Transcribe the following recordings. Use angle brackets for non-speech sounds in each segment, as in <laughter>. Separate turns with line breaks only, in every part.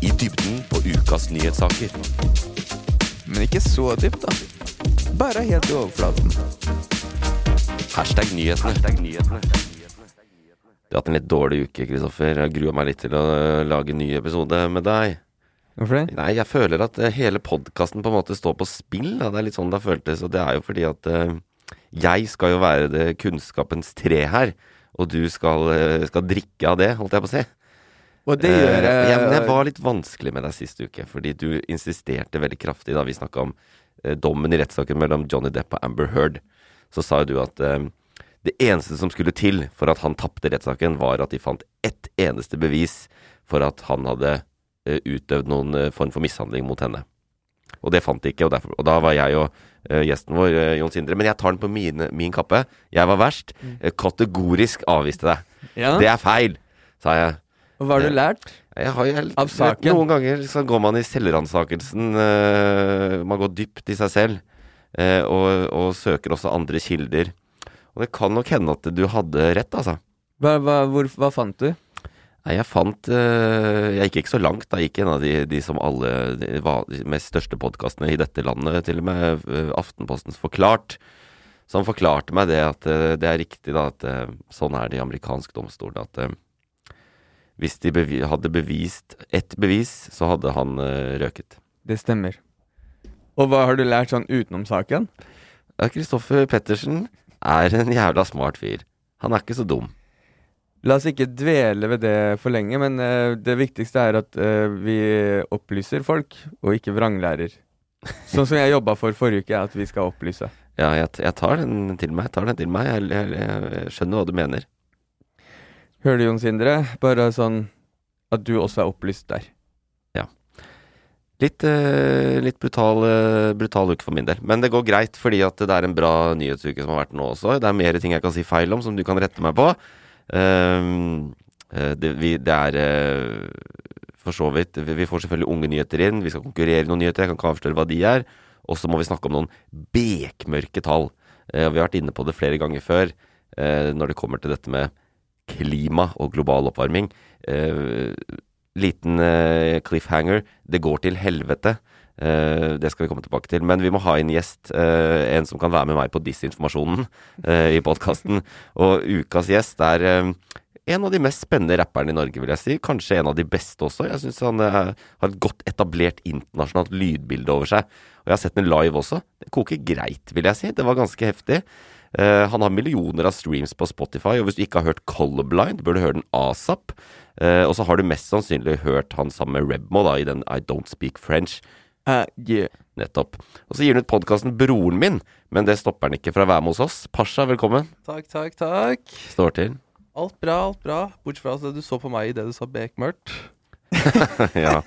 I dybden på ukas nyhetssaker.
Men ikke så dypt, da. Bare helt i overflaten.
Hashtag nyhetene. Du har hatt en litt dårlig uke, Kristoffer. Jeg grua meg litt til å øh, lage en ny episode med deg.
Hvorfor det?
Nei, jeg føler at øh, hele podkasten på en måte står på spill. Da. Det er litt sånn det har føltes. Og det er jo fordi at øh, jeg skal jo være det kunnskapens tre her. Og du skal, øh, skal drikke av det, holdt jeg på å si.
Og det gjør
Eh, ja, men jeg
jeg
var litt vanskelig med deg sist uke, fordi du insisterte veldig kraftig da vi snakka om eh, dommen i rettssaken mellom Johnny Depp og Amber Heard. Så sa jo du at eh, det eneste som skulle til for at han tapte rettssaken, var at de fant ett eneste bevis for at han hadde eh, utøvd noen eh, form for mishandling mot henne. Og det fant de ikke, og, derfor, og da var jeg og eh, gjesten vår, eh, Jon Sindre, men jeg tar den på mine, min kappe. Jeg var verst.
Mm.
Eh, kategorisk avviste deg.
Ja,
Det er feil, sa jeg.
Og hva har du lært?
Jeg har jo helt,
Av saken.
Noen ganger så går man i selvransakelsen. eh, man går dypt i seg selv. eh, og, og søker også andre kilder. Og det kan nok hende at du hadde rett, altså.
Hva, hva, hvor, hva fant du?
Nei, jeg fant eh, Jeg gikk ikke så langt. Da Jeg gikk en av de, de som alle de, va- de mest største podkastene i dette landet, til og med eh, Aftenpostens Forklart, som forklarte meg det at eh, det er riktig, da, at eh, sånn er det i amerikansk domstol, at eh, hvis de bevi hadde bevist ett bevis, så hadde han eh, røket.
Det stemmer. Og hva har du lært sånn utenom saken?
Ja, Kristoffer Pettersen er en jævla smart fyr. Han er ikke så dum.
La oss ikke dvele ved det for lenge, men eh, det viktigste er at eh, vi opplyser folk, og ikke vranglærer. Sånn som jeg jobba for forrige uke, er at vi skal opplyse.
Ja, jeg, jeg tar den til meg. Jeg, tar den til meg. Jeg, jeg, jeg skjønner hva du mener.
Hører du, Jon Sindre? Bare sånn at du også er opplyst der.
Litt, eh, litt brutal, eh, brutal uke for min del. Men det går greit, fordi at det er en bra nyhetsuke som har vært nå også. Det er mer ting jeg kan si feil om, som du kan rette meg på. Ehm, eh, det, vi, det er eh, for så vidt vi, vi får selvfølgelig unge nyheter inn. Vi skal konkurrere i noen nyheter. Jeg kan ikke avsløre hva de er. Og så må vi snakke om noen bekmørke tall. Eh, og vi har vært inne på det flere ganger før eh, når det kommer til dette med klima og global oppvarming. Eh, liten eh, cliffhanger. Det går til helvete. Eh, det skal vi komme tilbake til. Men vi må ha en gjest. eh, en som kan være med meg på Disinformasjonen eh, i podkasten. Og ukas gjest er eh, en av de mest spennende rapperne i Norge, vil jeg si. Kanskje en av de beste også. Jeg syns han eh, har et godt etablert internasjonalt lydbilde over seg. Og jeg har sett den live også. Det koker greit, vil jeg si. Det var ganske heftig. Eh, han har millioner av streams på Spotify, og hvis du ikke har hørt Colorblind, bør du høre den asap. Eh, og så har du mest sannsynlig hørt han sammen med Rebmo da, i den I Don't Speak French.
Uh, yeah.
Nettopp. Og så gir han ut podkasten Broren min, men det stopper han ikke fra å være med hos oss. Pasha, velkommen.
Takk, takk, takk.
Står til.
Alt bra, alt bra. Bortsett fra at du så på meg idet du sa bekmørkt.
<laughs> ja.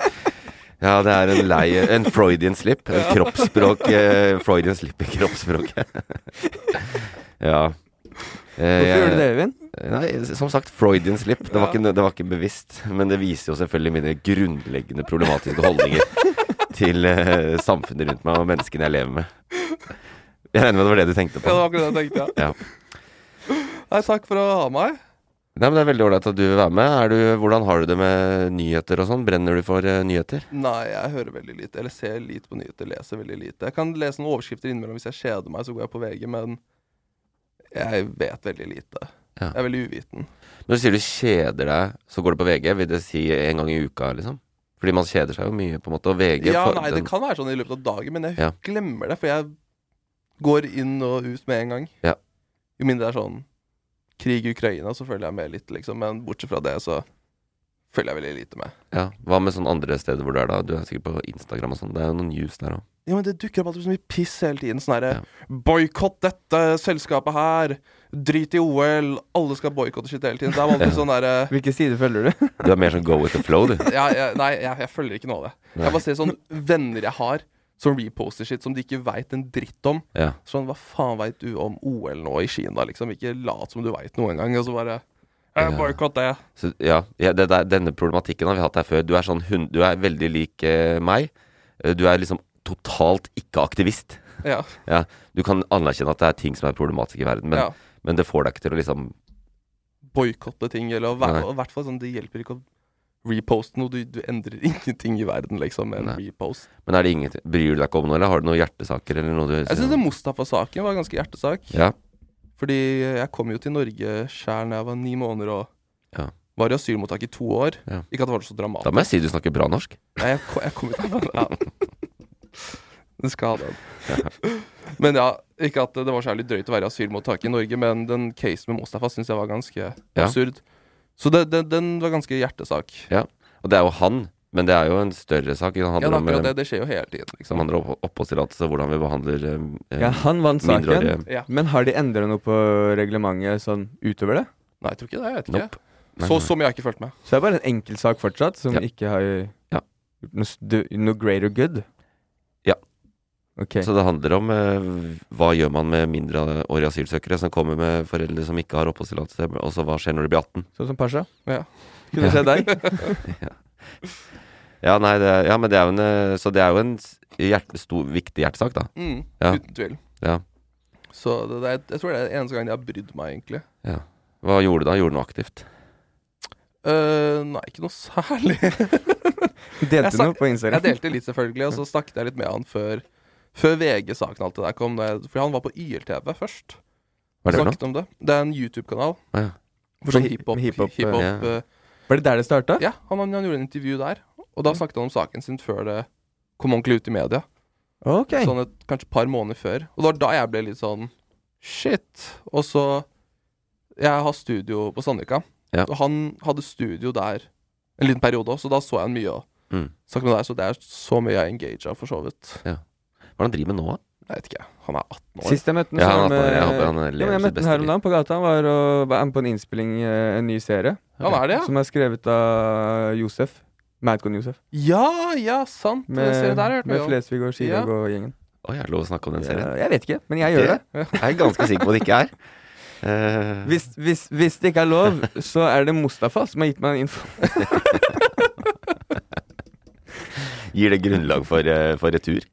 ja, det er en lei En Freudian slip. En kroppsspråk eh, Freudian slip i <laughs> kroppsspråket. ja. Eh,
Hvorfor
jeg-
gjorde du det, Øyvind?
Nei, som sagt, Freudian slip. Det var, ikke, det var ikke bevisst. Men det viser jo selvfølgelig mine grunnleggende problematiske holdninger til eh, samfunnet rundt meg og menneskene jeg lever med. Jeg regner med det var det du tenkte
Ja, det
på.
var akkurat det jeg tenkte.
Ja.
Nei, takk for å ha meg.
Nei, men Det er veldig ålreit at du vil være med. Er du, hvordan har du det med nyheter og sånn? Brenner du for eh, nyheter?
Nei, jeg hører veldig lite, eller ser lite på nyheter, leser veldig lite. Jeg kan lese noen overskrifter innimellom hvis jeg kjeder meg, så går jeg på VG, men jeg vet veldig lite.
Ja.
Jeg er veldig uviten.
Når du sier du kjeder deg, så går det på VG. Vil det si en gang i uka, liksom? Fordi man kjeder seg jo mye, på en måte. Og VG
Ja,
for-
nei, det
den-
kan være sånn i løpet av dagen, men jeg
Ja.
glemmer det, for jeg går inn og ut med en gang.
Ja.
Jo mindre det er sånn krig i Ukraina, så følger jeg med litt, liksom. Men bortsett fra det, så følger jeg veldig lite med.
ja. Hva med sånne andre steder hvor du er da? Du er sikkert på Instagram og sånn. Det er jo noen news der òg.
Ja, men Det dukker opp alltid så mye piss hele tiden. Sånn herre Boikott dette selskapet her! Drit i OL! Alle skal boikotte shit hele tiden. Det er alltid sånn derre
Hvilke sider følger du?
Du er mer sånn go with the
<laughs>
flow, du.
ja, jeg, Nei, jeg, jeg følger ikke noe av det. Jeg bare ser sånn venner jeg har som reposter shit som de ikke veit en dritt om.
Ja.
Sånn, hva faen veit du om OL nå i Kina, liksom? Ikke lat som du veit noe engang. Og så bare eh, Boikott det.
Så, ja, ja det der, denne problematikken har vi hatt her før. Du er, sånn, hun- du er veldig lik eh, meg. Eh, Du er liksom totalt ikke aktivist.
Ja.
Ja, du kan anerkjenne at det er ting som er problematisk i verden, men,
ja.
men det får deg ikke til å liksom
Boikotte ting, eller å
Nei.
være- og i hvert fall sånn, det hjelper ikke å reposte noe. Du, du endrer <laughs> ingenting i verden, liksom, med en
Nei.
repost.
Men er det ingenting Bryr du deg ikke om noe, eller har du noen hjertesaker eller noe du
Jeg syns Mustafa-saken var ganske hjertesak.
Ja.
Fordi jeg kom jo til Norge sjæl da jeg var ni måneder og
Ja.
var i asylmottak i to år.
Ja.
Ikke at det var så dramatisk.
Da må jeg si du snakker bra norsk.
Nei, jeg, ko- jeg kom ut av
<laughs>
ja. Du skal ha den. <laughs> Men ja, ikke at det var så jævlig drøyt å være i asylmottak i Norge, men den casen med Mustafa syns jeg var ganske
Ja.
absurd. Så det, den- den var ganske hjertesak.
Ja. Og det er jo han, men det er jo en større sak. ikke sant?
Ja,
handler
det er
om,
akkurat
eh,
det. Det skjer jo hele tiden,
Som
liksom.
handler om opp- oppholdstillatelse, hvordan vi behandler eh,
Ja, han vant
mindreårige
saken.
Ja.
Men har de endra noe på reglementet sånn utover det?
Nei, jeg tror ikke det. Jeg vet ikke.
Nope. Nei,
Så,
nei.
så mye har jeg ikke fulgt med.
Så det er bare en enkel sak fortsatt, som
Ja.
ikke har
Ja.
gjort noe, stu- noe greater good?
Ja.
Ok.
Så det handler om eh, hva gjør man med mindreårige asylsøkere som kommer med foreldre som ikke har oppholdstillatelse, og så hva skjer når de blir
<laughs>
18?
Sånn som Pasha.
Ja.
Kunne se
<laughs>
deg.
Ja, nei, det, ja men det er jo en eh, Så det er jo en s- hjerte, stor, viktig hjertesak, da.
Mm,
Ja.
Uten tvil.
Ja.
Så det, det, er- jeg tror det er eneste gangen jeg har brydd meg, egentlig.
ja. Hva gjorde du da? Gjorde du noe aktivt?
Eh, nei, ikke noe særlig. <laughs> Jeg
Delte
sa-
noe på
Jeg
Instagram.
delte litt, selvfølgelig, og så snakket jeg litt med han før, før VG-saken og alt det der kom. da jeg- Fordi han var på YLTV først.
Hva er det for noe?
snakket om det. Det er en YouTube-kanal.
Ah, ja.
For sånn
Med hi-
hiphop.
med hiphop,
hiphop, hiphop
ja.
eh,
Var det der det starta?
ja, han, han gjorde en intervju der, og da snakket han om saken sin før det kom ordentlig ut i media.
Ok.
Sånn et kanskje et par måneder før. Og det var da jeg ble litt sånn Shit. Og så Jeg har studio på Sandvika,
Ja.
og han hadde studio der en liten periode òg, så da så jeg han mye. Og
Mm.
snakket med deg, så det er så mye jeg engager for så vidt.
Hva er det han driver med nå, da?
Jeg vet ikke. Han er 18 år.
Sist jeg møtte ham,
Ja, han er 18 år. Jeg håper han eh, lever
eh, ja, men jeg
sitt
møtte
beste
ham her om
liv.
dagen på gata. Han var og var med på en innspilling, eh, en ny serie,
Han er det, ja?
som er skrevet av Josef. Madcon Josef.
Ja, ja, sant. Med,
Med,
Ser der, hørte vi
med
jo.
Flesvig og Chirag og gjengen.
Å, jeg har lov å snakke om den serien.
Ja, jeg vet ikke, men jeg gjør det.
Jeg er ganske sikker på at det ikke er. Eh,
Hvis, hvis, hvis det ikke er lov, så er det Mustafa som har gitt meg info.
gir det grunnlag for, eh, for retur?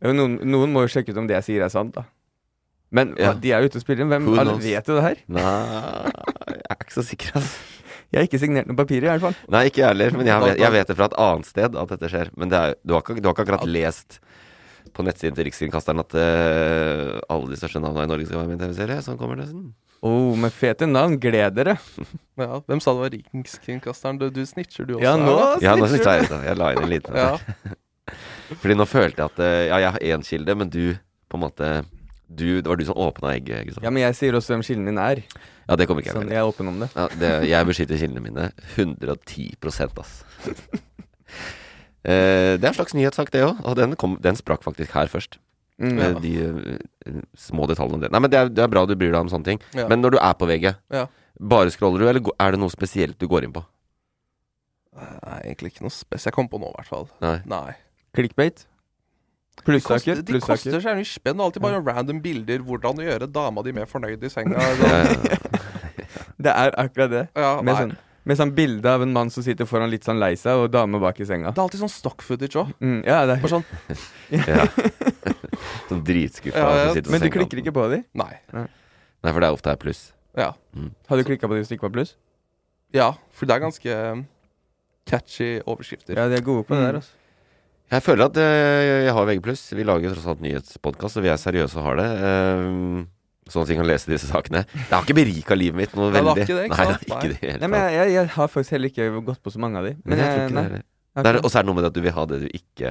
Ja, men Noen, noen må jo sjekke ut om det jeg sier er sant, da. Men
Ja.
hva, de er jo ute og spiller. Hvem
Who
alle
knows?
vet jo det her?
Nei, jeg er ikke så sikker. Altså.
Jeg har ikke signert noen papirer, i hvert fall.
Nei, ikke jeg heller. Men jeg, vet- jeg vet det fra et annet sted at dette skjer. Men det er, du, har ikke, du har ikke akkurat lest på nettsiden til Rikskringkasteren at eh, alle de største navnene i Norge skal være med i en TV-serie? Sånn kommer det nesten.
Oh, med fete navn. Gled dere.
Ja, hvem sa det var Rikskringkasteren? Du, du snitcher, du også.
Ja, nå
eller?
Ja, nå
snitcher
synes
du.
jeg det. Jeg la inn en liten
Ja.
Fordi nå følte jeg at eh, Ja, jeg har én kilde, men du på en måte du, Det var du som åpna egget. Ikke sant?
Ja, men jeg sier også hvem kilden din er.
Ja, det kommer ikke jeg
Sånn,
med.
jeg er åpen om det.
Ja, det, jeg beskytter kildene mine 110 ass. Eh, det er en slags nyhetssak, det òg. Og den, kom, den sprakk faktisk her først.
Mm.
Med de eh, små detaljene om det. Nei, men det er, det er bra du bryr deg om sånne ting.
Ja.
<laughs> Men når du er på VG,
Ja.
bare scroller du, eller gå- er det noe spesielt du går inn på?
Nei, egentlig ikke noe spes. Jeg kom på nå, i hvert fall.
Nei.
Nei.
Clickbait.
De koster,
Plussaker.
de koster
Plussaker.
så jævlig spenn. og Alltid bare random bilder. Hvordan å gjøre dama di mer fornøyd i
<laughs>
senga.
Ja,
eller-
ja, ja.
Det er akkurat det.
Ja,
Med
nei.
sånn, med sånn bilde av en mann som sitter foran litt sånn lei seg, og dame bak i senga.
Det er alltid sånn stock footage òg.
Mm, ja, det
Bare
er.
sånn
ja. Sånn dritskuffa.
Ja, ja.
som sitter på
Men du
sengekanten.
klikker ikke på de?
Nei.
Nei, for det er ofte her pluss.
Ja.
Hadde du klikka på de hvis det ikke var pluss?
ja. For det er ganske um, catchy overskrifter.
Ja, de er gode på det der, altså.
Jeg føler at eh, jeg har VG+. Vi lager jo tross alt nyhetspodkast, og vi er seriøse og har det. Eh, sånn at vi kan lese disse sakene. Det har ikke berika livet mitt noe
Nei, det har
veldig.
ikke det, ikke
Nei, det
sant?
har ikke det i
Nei,
hele
men
tatt.
jeg, jeg, jeg har faktisk heller ikke gått på så mange av de.
Men jeg tror ikke det
nei,
heller.
jeg
Det
har
er-
ikke-
Og så er det noe med det at du vil ha det du ikke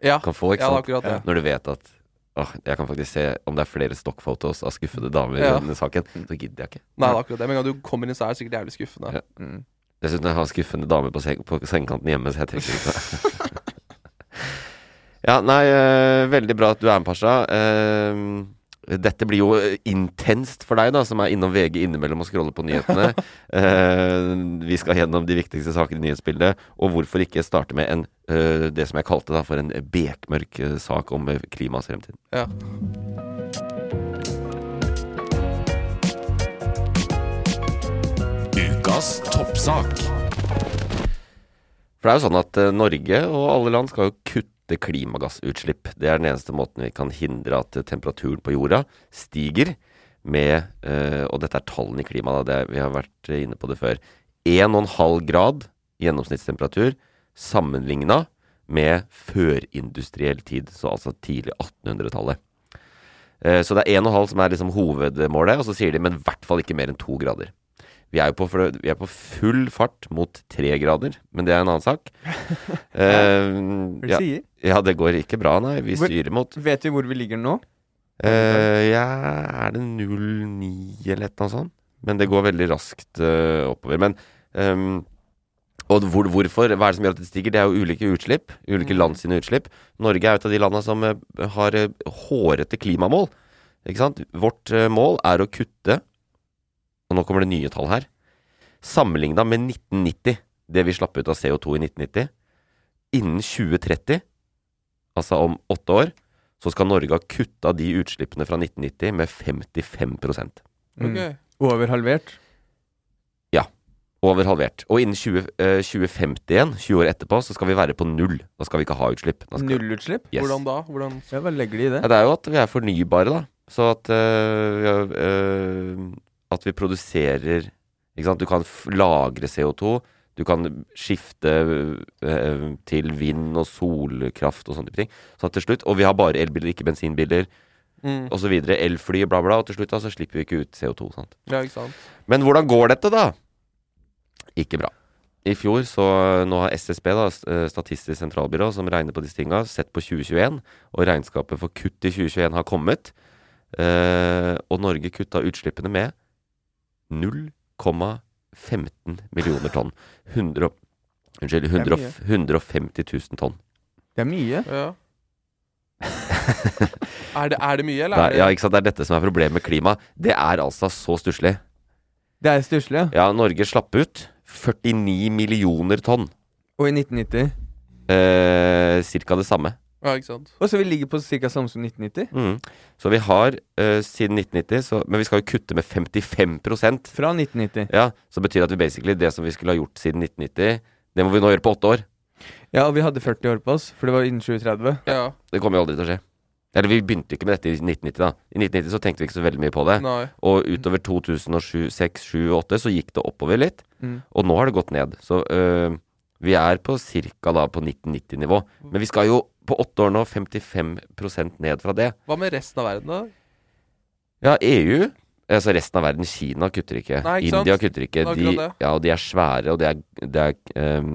Ja,
kan få, ikke
ja, det er
sant?
akkurat det.
Når du vet at Åh, jeg kan faktisk se om det er flere stokkfotos av skuffede damer
Ja.
i denne saken. Så gidder jeg ikke.
Nei, det er akkurat det. Men en gang du kommer inn, så er det sikkert jævlig skuffende.
Ja.
Mm.
Dessuten jeg har skuffende damer på, seng, på sengekanten hjemme, så jeg trenger ikke det. <laughs> ja, nei, eh, veldig bra at du er med, Pasha. Eh, dette blir jo eh, intenst for deg, da, som er innom VG innimellom og scroller på nyhetene. Eh, vi skal gjennom de viktigste sakene i nyhetsbildet, og hvorfor ikke starte med en, eh, det som jeg kalte da, for en bekmørk eh, sak om eh, klimaets fremtid.
Ja.
Ukas toppsak.
For det er jo sånn at eh, Norge og alle land skal jo kutte klimagassutslipp. Det er den eneste måten vi kan hindre at eh, temperaturen på jorda stiger med eh, Og dette er tallene i klimaet, da, det, vi har vært eh, inne på det før. 1,5 grad gjennomsnittstemperatur sammenligna med førindustriell tid, så altså tidlig 1800-tallet. Eh, Så det er 1,5 som er liksom hovedmålet, og så sier de men i hvert fall ikke mer enn to grader. Vi er jo på, for- vi er på full fart mot tre grader, men det er en annen
<laughs>
sak. Eh,
Hva
ja,
du sier?
ja, det går ikke bra, nei. Vi
Hvor-
styrer mot
Vet vi hvor vi ligger nå?
Eh, ja, er det 09 eller et eller annet sånt? Men det går veldig raskt eh, oppover. Men ehm, og hvor, hvorfor? Hva er det som gjør at det stiger? Det er jo ulike utslipp. Ulike land sine utslipp. Norge er jo et av de landene som eh, har eh, hårete klimamål. Ikke sant? Vårt eh, mål er å kutte Og nå kommer det nye tall her. Sammenligna med 1990, det vi slapp ut av CO2 i 1990, innen 2030, altså om åtte år, så skal Norge ha kutta de utslippene fra 1990 med 55
Mm.
Ok.
Over halvert?
Over halvert. Og innen 20, eh, 2050 igjen, 20 år etterpå, så skal vi være på null. Da skal vi ikke ha utslipp. Da skal,
Nullutslipp?
Yes.
Hvordan da? Hvordan
Ja, hva legger de i det?
Ja, det er jo at vi er fornybare, da. Så at eh, vi har, eh, At vi produserer Ikke sant. Du kan f lagre CO2. Du kan skifte eh, til vind og solkraft og sånne type ting. Så til slutt, Og vi har bare elbiler, ikke bensinbiler
mm.
osv. Elfly, bla, bla. Og til slutt da, så slipper vi ikke ut CO2. sant?
Ja, ikke sant.
Men hvordan går dette, da? Ikke bra. I fjor så Nå har SSB, da, S- eh, Statistisk sentralbyrå, som regner på disse tinga, sett på 2021, og regnskapet for kutt i 2021 har kommet. Eh, og Norge kutta utslippene med 0,15 millioner tonn. 100, og- unnskyld, 100, og f- 150 000 tonn.
Det er mye.
<laughs>
Ja. er, det, er det mye, eller
Det
er
er,
det
ja, ikke sant? det er dette som er problemet med klima. Det er altså så stusslig.
Det er stusslig, ja.
Ja, Norge slapp ut 49 millioner tonn.
Og i 1990.
Eh, Cirka det samme.
Ja, ikke sant.
Og så vi ligger på ca. samme som 1990.
Mm. Så vi har eh, siden 1990 så, Men vi skal jo kutte med 55
Fra 1990.
Ja, Så betyr det at vi basically det som vi skulle ha gjort siden 1990, det må vi nå gjøre på åtte år.
Ja, og vi hadde 40 år på oss, for det var innen 2030.
Ja.
Det kommer jo aldri til å skje. Eller vi begynte ikke med dette i 1990, da. I 1990 så tenkte vi ikke så veldig mye på det.
Nei.
Og utover 2007, 6, 7, 8 så gikk det oppover litt.
Mm.
Og nå har det gått ned. Så eh, vi er på ca. da på 1990-nivå. Men vi skal jo på åtte år nå 55 ned fra det.
Hva med resten av verden, da?
Ja, EU Altså resten av verden, Kina kutter ikke.
Nei, ikke sant?
India kutter ikke.
Det er
De,
akkurat det.
ja, og de er svære, og det er, det er ehm,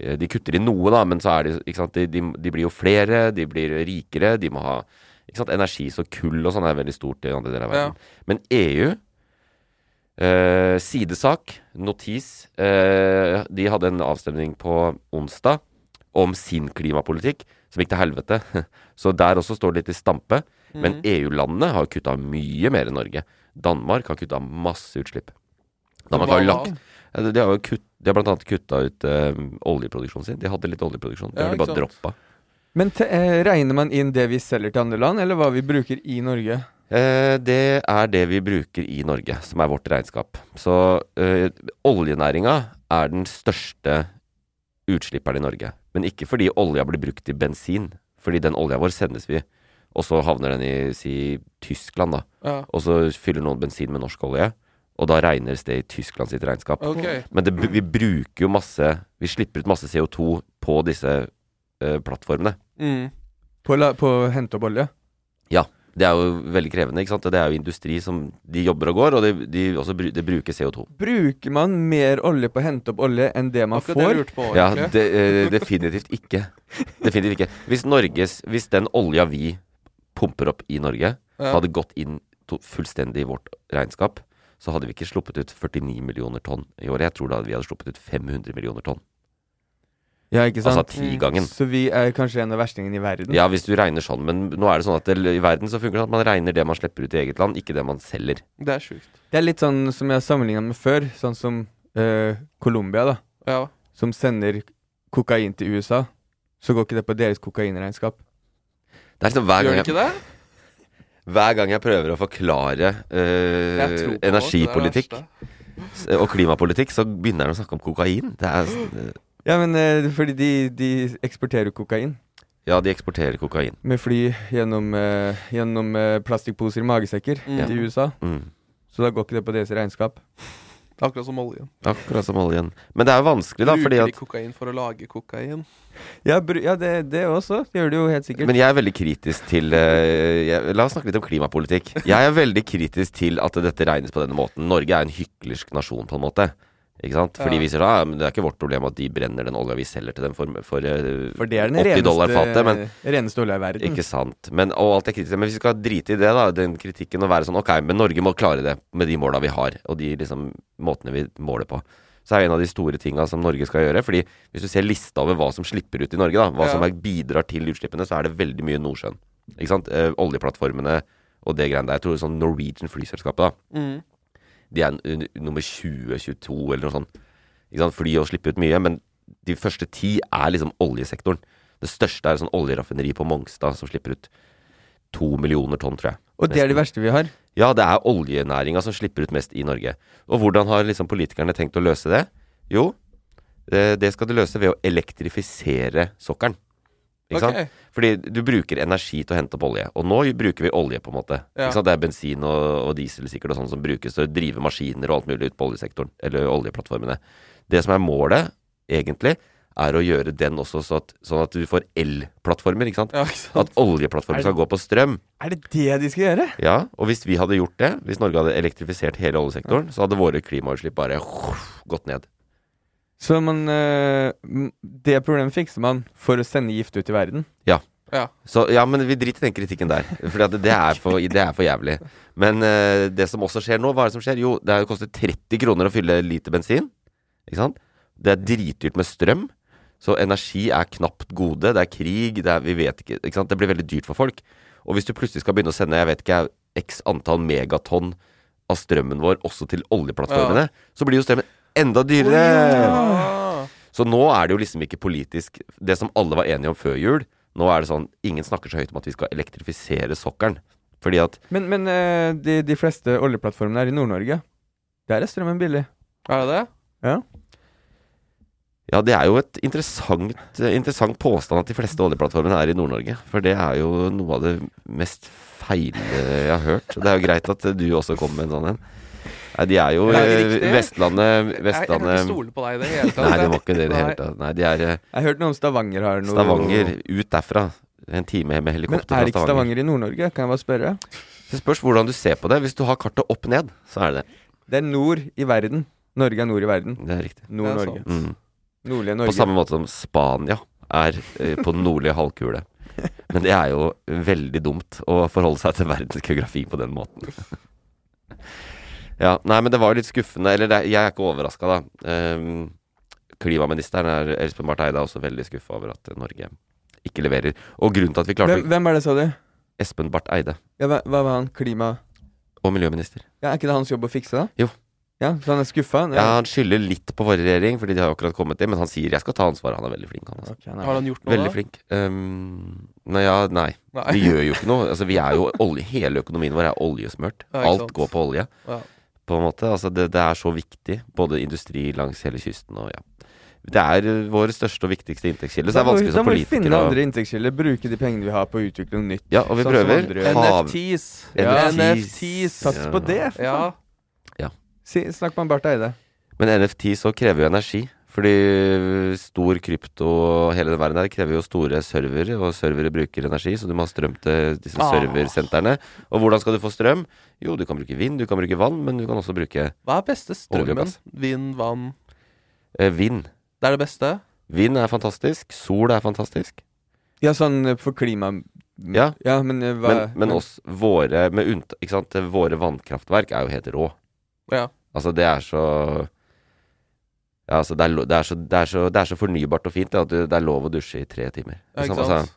eh, De kutter i noe, da, men så er de ikke sant? De, de, de blir jo flere, de blir rikere, de må ha ikke sant? Energi så kull og sånn er veldig stort i andre deler av
Ja.
verden. Men EU eh, Sidesak, notis eh, De hadde en avstemning på onsdag om sin klimapolitikk, som gikk til helvete. <laughs> Så der også står det litt i stampe.
Mhm.
Men EU-landene har kutta mye mer enn Norge. Danmark har kutta masse utslipp. Danmark har jo
Hva
lagt
da?
ja, De de har jo kutt, de har blant annet kutta ut eh, oljeproduksjonen sin. De hadde litt oljeproduksjon. Det
Ja,
har de
ikke
bare
sant.
droppa.
Men te, eh, regner man inn det vi selger til andre land, eller hva vi bruker i Norge?
Eh, det er det vi bruker i Norge, som er vårt regnskap. Så eh, oljenæringa er den største utslipperen i Norge. Men ikke fordi olja blir brukt til bensin. Fordi den olja vår sendes vi, og så havner den i si, Tyskland, da.
Ja.
Og så fyller noen bensin med norsk olje, og da regnes det i Tyskland sitt regnskap.
Ok.
Men det, vi bruker jo masse Vi slipper ut masse CO2 på disse eh, plattformene.
Mm.
På, la, på å hente opp olje?
Det er jo veldig krevende. ikke sant? Det er jo industri som De jobber og går, og de, de også bru, det bruker CO2.
Bruker man mer olje på å hente opp olje enn det man
Akkurat det jeg
får?
lurte på,
Ja,
egentlig.
det, eh, definitivt ikke. Definitivt ikke. Hvis Norges Hvis den olja vi pumper opp i Norge,
Ja.
hadde gått inn to, fullstendig i vårt regnskap, så hadde vi ikke sluppet ut 49 millioner tonn i året. Jeg tror da vi hadde sluppet ut 500 millioner tonn.
Ja, ikke sant?
Altså tigangen.
Så vi er kanskje en av verstingene i
Mm.
verden?
Ja, hvis du regner sånn, men nå er det sånn at det, i verden så funker det sånn at man regner det man slipper ut i eget land, ikke det man selger.
Det er sjukt.
Det er litt sånn som jeg sammenligna med før, sånn som eh, Colombia, da.
Ja.
Som sender kokain til USA. Så går ikke det på deres kokainregnskap.
Det er liksom hver
Gjør
gang
det
jeg,
ikke det?
hver gang jeg prøver å forklare eh,
Jeg tror på det, det er det
energipolitikk
verste.
s- og klimapolitikk, så begynner han å snakke om kokain. Det er, s-
Ja, men eh, fordi de, de eksporterer kokain
ja, de eksporterer kokain.
med fly gjennom, eh, gjennom eh, plastikkposer i magesekker
Mm.
til USA.
Mm.
Så da går ikke det på deres regnskap.
Akkurat som oljen.
Akkurat som oljen. Men det er jo vanskelig, da, fordi
Bruker de
at
kokain for å lage kokain?
Ja, bru, ja det, det også. Det gjør det jo helt sikkert.
men jeg er veldig kritisk til eh, jeg, La oss snakke litt om klimapolitikk. Jeg er veldig kritisk til at dette regnes på denne måten. Norge er en hyklersk nasjon, på en måte. Ikke sant? Fordi
Ja.
vi sier da, men det er ikke vårt problem at de brenner den olja vi selger til dem for, for, eh,
For det er den
80 dollar fatet. Men
reneste, reneste olja i verden.
Ikke sant. Men, og alt er kritisk. Men hvis vi skal drite i det, da, den kritikken, og være sånn Ok, men Norge må klare det med de måla vi har, og de liksom måtene vi måler på. Så er en av de store tinga som Norge skal gjøre. Fordi hvis du ser lista over hva som slipper ut i Norge, da, hva
Ja.
som er, bidrar til utslippene, så er det veldig mye Nordsjøen. Ikke sant. Eh, oljeplattformene og det greiene der. Jeg tror sånn Norwegian flyselskapet, da.
Mm.
De er n- n- nummer 20-22 eller noe sånt. Ikke sant? Fly og slippe ut mye, men de første ti er liksom oljesektoren. Det største er sånn oljeraffineri på Mongstad som slipper ut to millioner tonn, tror jeg.
Og det er det verste vi har.
Ja, det er oljenæringa som slipper ut mest i Norge. Og hvordan har liksom politikerne tenkt å løse det? Jo, eh, det skal du løse ved å elektrifisere sokkelen. Ikke sant?
Ok.
Fordi du bruker energi til å hente opp olje. Og nå bruker vi olje, på en måte.
Ja.
Ikke sant? Det er bensin og, og diesel sikkert og sånn som brukes til å drive maskiner og alt mulig ut på oljesektoren, eller oljeplattformene. Det som er målet, egentlig, er å gjøre den også så at, sånn at du får elplattformer, ikke sant?
<laughs> Ja, ikke sant?
At oljeplattformer skal gå på strøm.
Er det det de skal gjøre?
Ja, og hvis vi hadde gjort det, hvis Norge hadde elektrifisert hele oljesektoren, så hadde våre klimautslipp bare gått ned.
Så man, eh, m- det problemet fikser man for å sende gift ut i verden.
Så ja, men vi driter i den kritikken der. For det, det, er for- det er for jævlig. Men eh, det som også skjer nå, hva er det som skjer? Jo, det er- koster 30 kroner å fylle liter bensin. Ikke sant? Det er dritdyrt med strøm. Så energi er knapt gode. Det er krig. Det er, vi vet ikke, ikke sant? Det blir veldig dyrt for folk. Og hvis du plutselig skal begynne å sende jeg vet ikke, x antall megatonn av strømmen vår også til oljeplattformene, så blir jo strømmen enda dyrere.
Ah.
Så nå er det jo liksom ikke politisk Det som alle var enige om før jul Nå er det sånn, ingen snakker så høyt om at vi skal elektrifisere sokkeren Fordi at,
Men, men eh, de, de fleste oljeplattformene er i Nord-Norge. Der er strømmen billig.
Er det det?
ja det er jo et interessant, eh, interessant påstand At de fleste oljeplattformene er i Nord-Norge For det er jo noe av det mest feile jeg har hørt Det er jo greit at du også kommer med en sånn en Nei, de er jo
Er det
eh,
riktig?
Vestlandet,
Jeg, jeg kan ikke
Vestlandet
stole på deg i det hele tatt.
Nei, de må ikke det i det
Nei.
hele tatt Nei, de er eh,
Jeg har hørt noe om Stavanger har noe
Stavanger, ut derfra En time med
Men
helikopter fra
er ikke Stavanger i Nord-Norge? Kan jeg bare spørre?
Det spørs hvordan du ser på det Hvis du har kartet opp ned, så er det det
Det er nord i verden. Norge er nord i verden.
Det er riktig.
Nord-Norge.
sant.
Mm.
Nordlige
På
Norge.
samme måte som Spania er eh, på den nordlige halvkule. Men det er jo veldig dumt å forholde seg til verdens geografi på den måten. Ja, nei, men det var jo litt skuffende. Eller det, er- jeg er ikke overraska, da. Ehm, klimaministeren, er, Espen Barth Eide, er også veldig skuffa over at Norge ikke leverer. Og grunnen til at vi klarte
hvem, hvem er det, sa du?
Espen Barth Eide
Ja, hva, hva var han? Klima...
og miljøminister
Ja, Er ikke det hans jobb å fikse det?
Jo.
Ja, Så han er skuffa?
ja, Han skylder litt på våre regjering, fordi de har jo akkurat kommet inn, men han sier 'jeg skal ta ansvaret'. Han er veldig flink, han. Altså.
Ok, nei.
Har han gjort noe,
Veldig flink. Ehm, nei, ja, nei.
da?
<laughs>
Vi gjør jo ikke noe. Altså, vi er jo olje, hele økonomien vår er oljesmørt.
Ja, ikke
Alt
sant.
går på olje,
Ja.
på en måte. Altså, det, det er så viktig. Både industri langs hele kysten og ja. Det er eh, vår største og viktigste inntektskilde, så det
Da
er
må vi-
vanskelig som
Da må vi finne
politiker å
andre inntektskilder, bruke de pengene vi har på å utvikle noe nytt.
Ja, og vi
sånn som
prøver.
andre gjør.
Hav-
NFTs.
Ja.
NFTs.
Sats på det, for
Ja.
faen. Si, snakk med Barth Eide.
Men NFT så krever jo energi. Fordi stor krypto og hele den verden der krever jo store servere, og servere bruker energi, så du må ha strøm til disse
Ah.
serversentrene. Og hvordan skal du få strøm? Jo, du kan bruke vind, du kan bruke vann, men du kan også bruke
Hva er beste
Olje og
strømmen?
gass.
Vind, vann?
eh, vind.
Det er det beste?
Vind er fantastisk, sol er fantastisk.
Ja, sånn eh, for klima...
Ja.
men eh, hva
Men, men oss, våre, med unnt, ikke sant? våre vannkraftverk er jo helt rå.
Ja.
Altså, det er så ja, altså det, er, lo- det, er så, det, er så, det er så fornybart og fint det, at du, det er lov å dusje i tre timer.
Ja,
Liksom,
ikke
altså,
sant?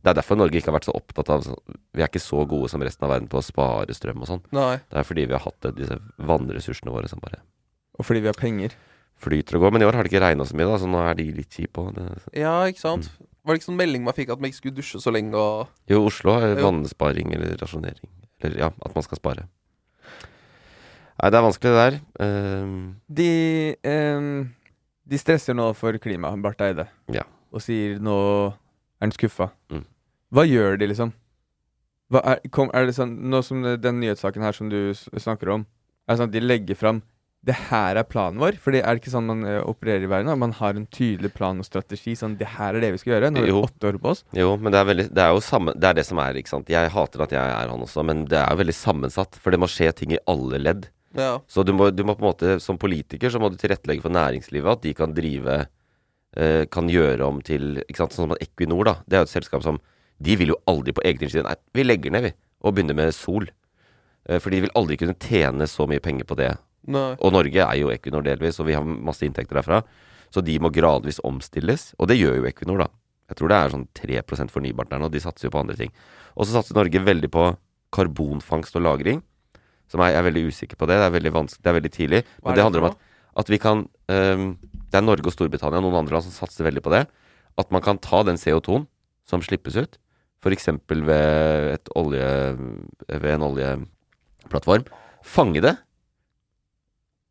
Det er derfor Norge ikke har vært så opptatt av sånn- Vi er ikke så gode som resten av verden på å spare strøm og sånn.
Nei.
Det er fordi vi har hatt det, disse vannressursene våre som bare
Og fordi vi har penger.
flyter og går. Men i år har det ikke regna så mye, da, så nå er de litt kjipe òg.
Ja, ikke sant? Var det ikke sånn melding man fikk at man ikke skulle dusje så lenge og
Jo, Oslo har
Jo.
vannsparing eller rasjonering. Eller ja, at man skal spare. Nei, det er vanskelig, det der. Ehm,
De, ehm, de stresser nå for klima, Barth Eide.
Ja.
Og sier nå er han skuffa.
Mm.
Hva gjør de, liksom? Hva er, kom, er det sånn, Nå som det- den nyhetssaken her som du s- snakker om, er det sånn at de legger fram det her er planen vår? For det er ikke sånn man eh, opererer i verden. at Man har en tydelig plan og strategi. Sånn, det her er det vi skal gjøre. Nå har vi
Jo.
åtte år på oss.
jo, men det er, veldig, det er jo samme Det er det som er, ikke sant. Jeg hater at jeg er han også, men det er jo veldig sammensatt. For det må skje ting i alle ledd.
Ja.
Så du må, du må på en måte, som politiker, så må du tilrettelegge for næringslivet, at de kan drive eh, Kan gjøre om til ikke sant, Sånn som Equinor, da. Det er jo et selskap som De vil jo aldri på eget initiativ Nei, vi legger ned, vi. Og begynner med sol. Eh, For de vil aldri kunne tjene så mye penger på det.
Nei.
Og Norge er jo Equinor delvis, og vi har masse inntekter derfra. Så de må gradvis omstilles, og det gjør jo Equinor, da. Jeg tror det er sånn 3 fornybart der nå, de satser jo på andre ting. Og så satser Norge veldig på karbonfangst og -lagring, som jeg jeg er veldig usikker på det. Det er veldig vanskelig, det er veldig tidlig. Men
er
det,
det
handler om at,
for
at vi kan øhm, Det er Norge og Storbritannia og noen andre land som satser veldig på det. At man kan ta den CO2-en som slippes ut, f.eks. ved, et olje, ved en oljeplattform, fange det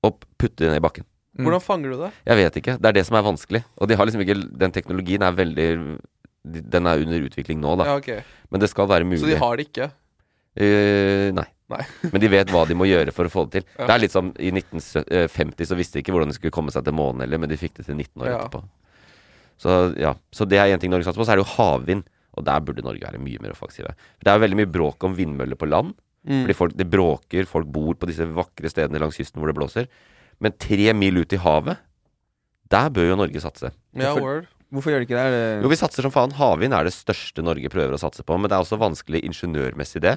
og putte det ned i bakken.
Mm.
Hvordan fanger du det?
Jeg vet ikke. Det er det som er vanskelig. Og de har liksom ikke Den teknologien er veldig de- Den er under utvikling nå, da.
Ja, ok.
Men det skal være mulig.
Så de har det ikke?
Eh, nei.
Nei. <laughs>
Men de vet hva de må gjøre for å få det til.
Ja.
Det er litt som i 1950 så visste de ikke hvordan de skulle komme seg til månen heller, men de fikk det til 19 år
Ja.
etterpå. Så ja. Så det er én ting Norge satser på. Så er det jo havvind. Og der burde Norge være mye mer offensive. Det er jo veldig mye bråk om vindmøller på land.
Mm.
Fordi folk, det bråker, folk bor på disse vakre stedene langs kysten hvor det blåser. Men tre mil ut i havet, der bør jo Norge satse.
Ja, word.
Hvorfor gjør de ikke det? Er
Jo,
det
vi satser som faen. Havvind er det største Norge prøver å satse på, men det er også vanskelig ingeniørmessig, det.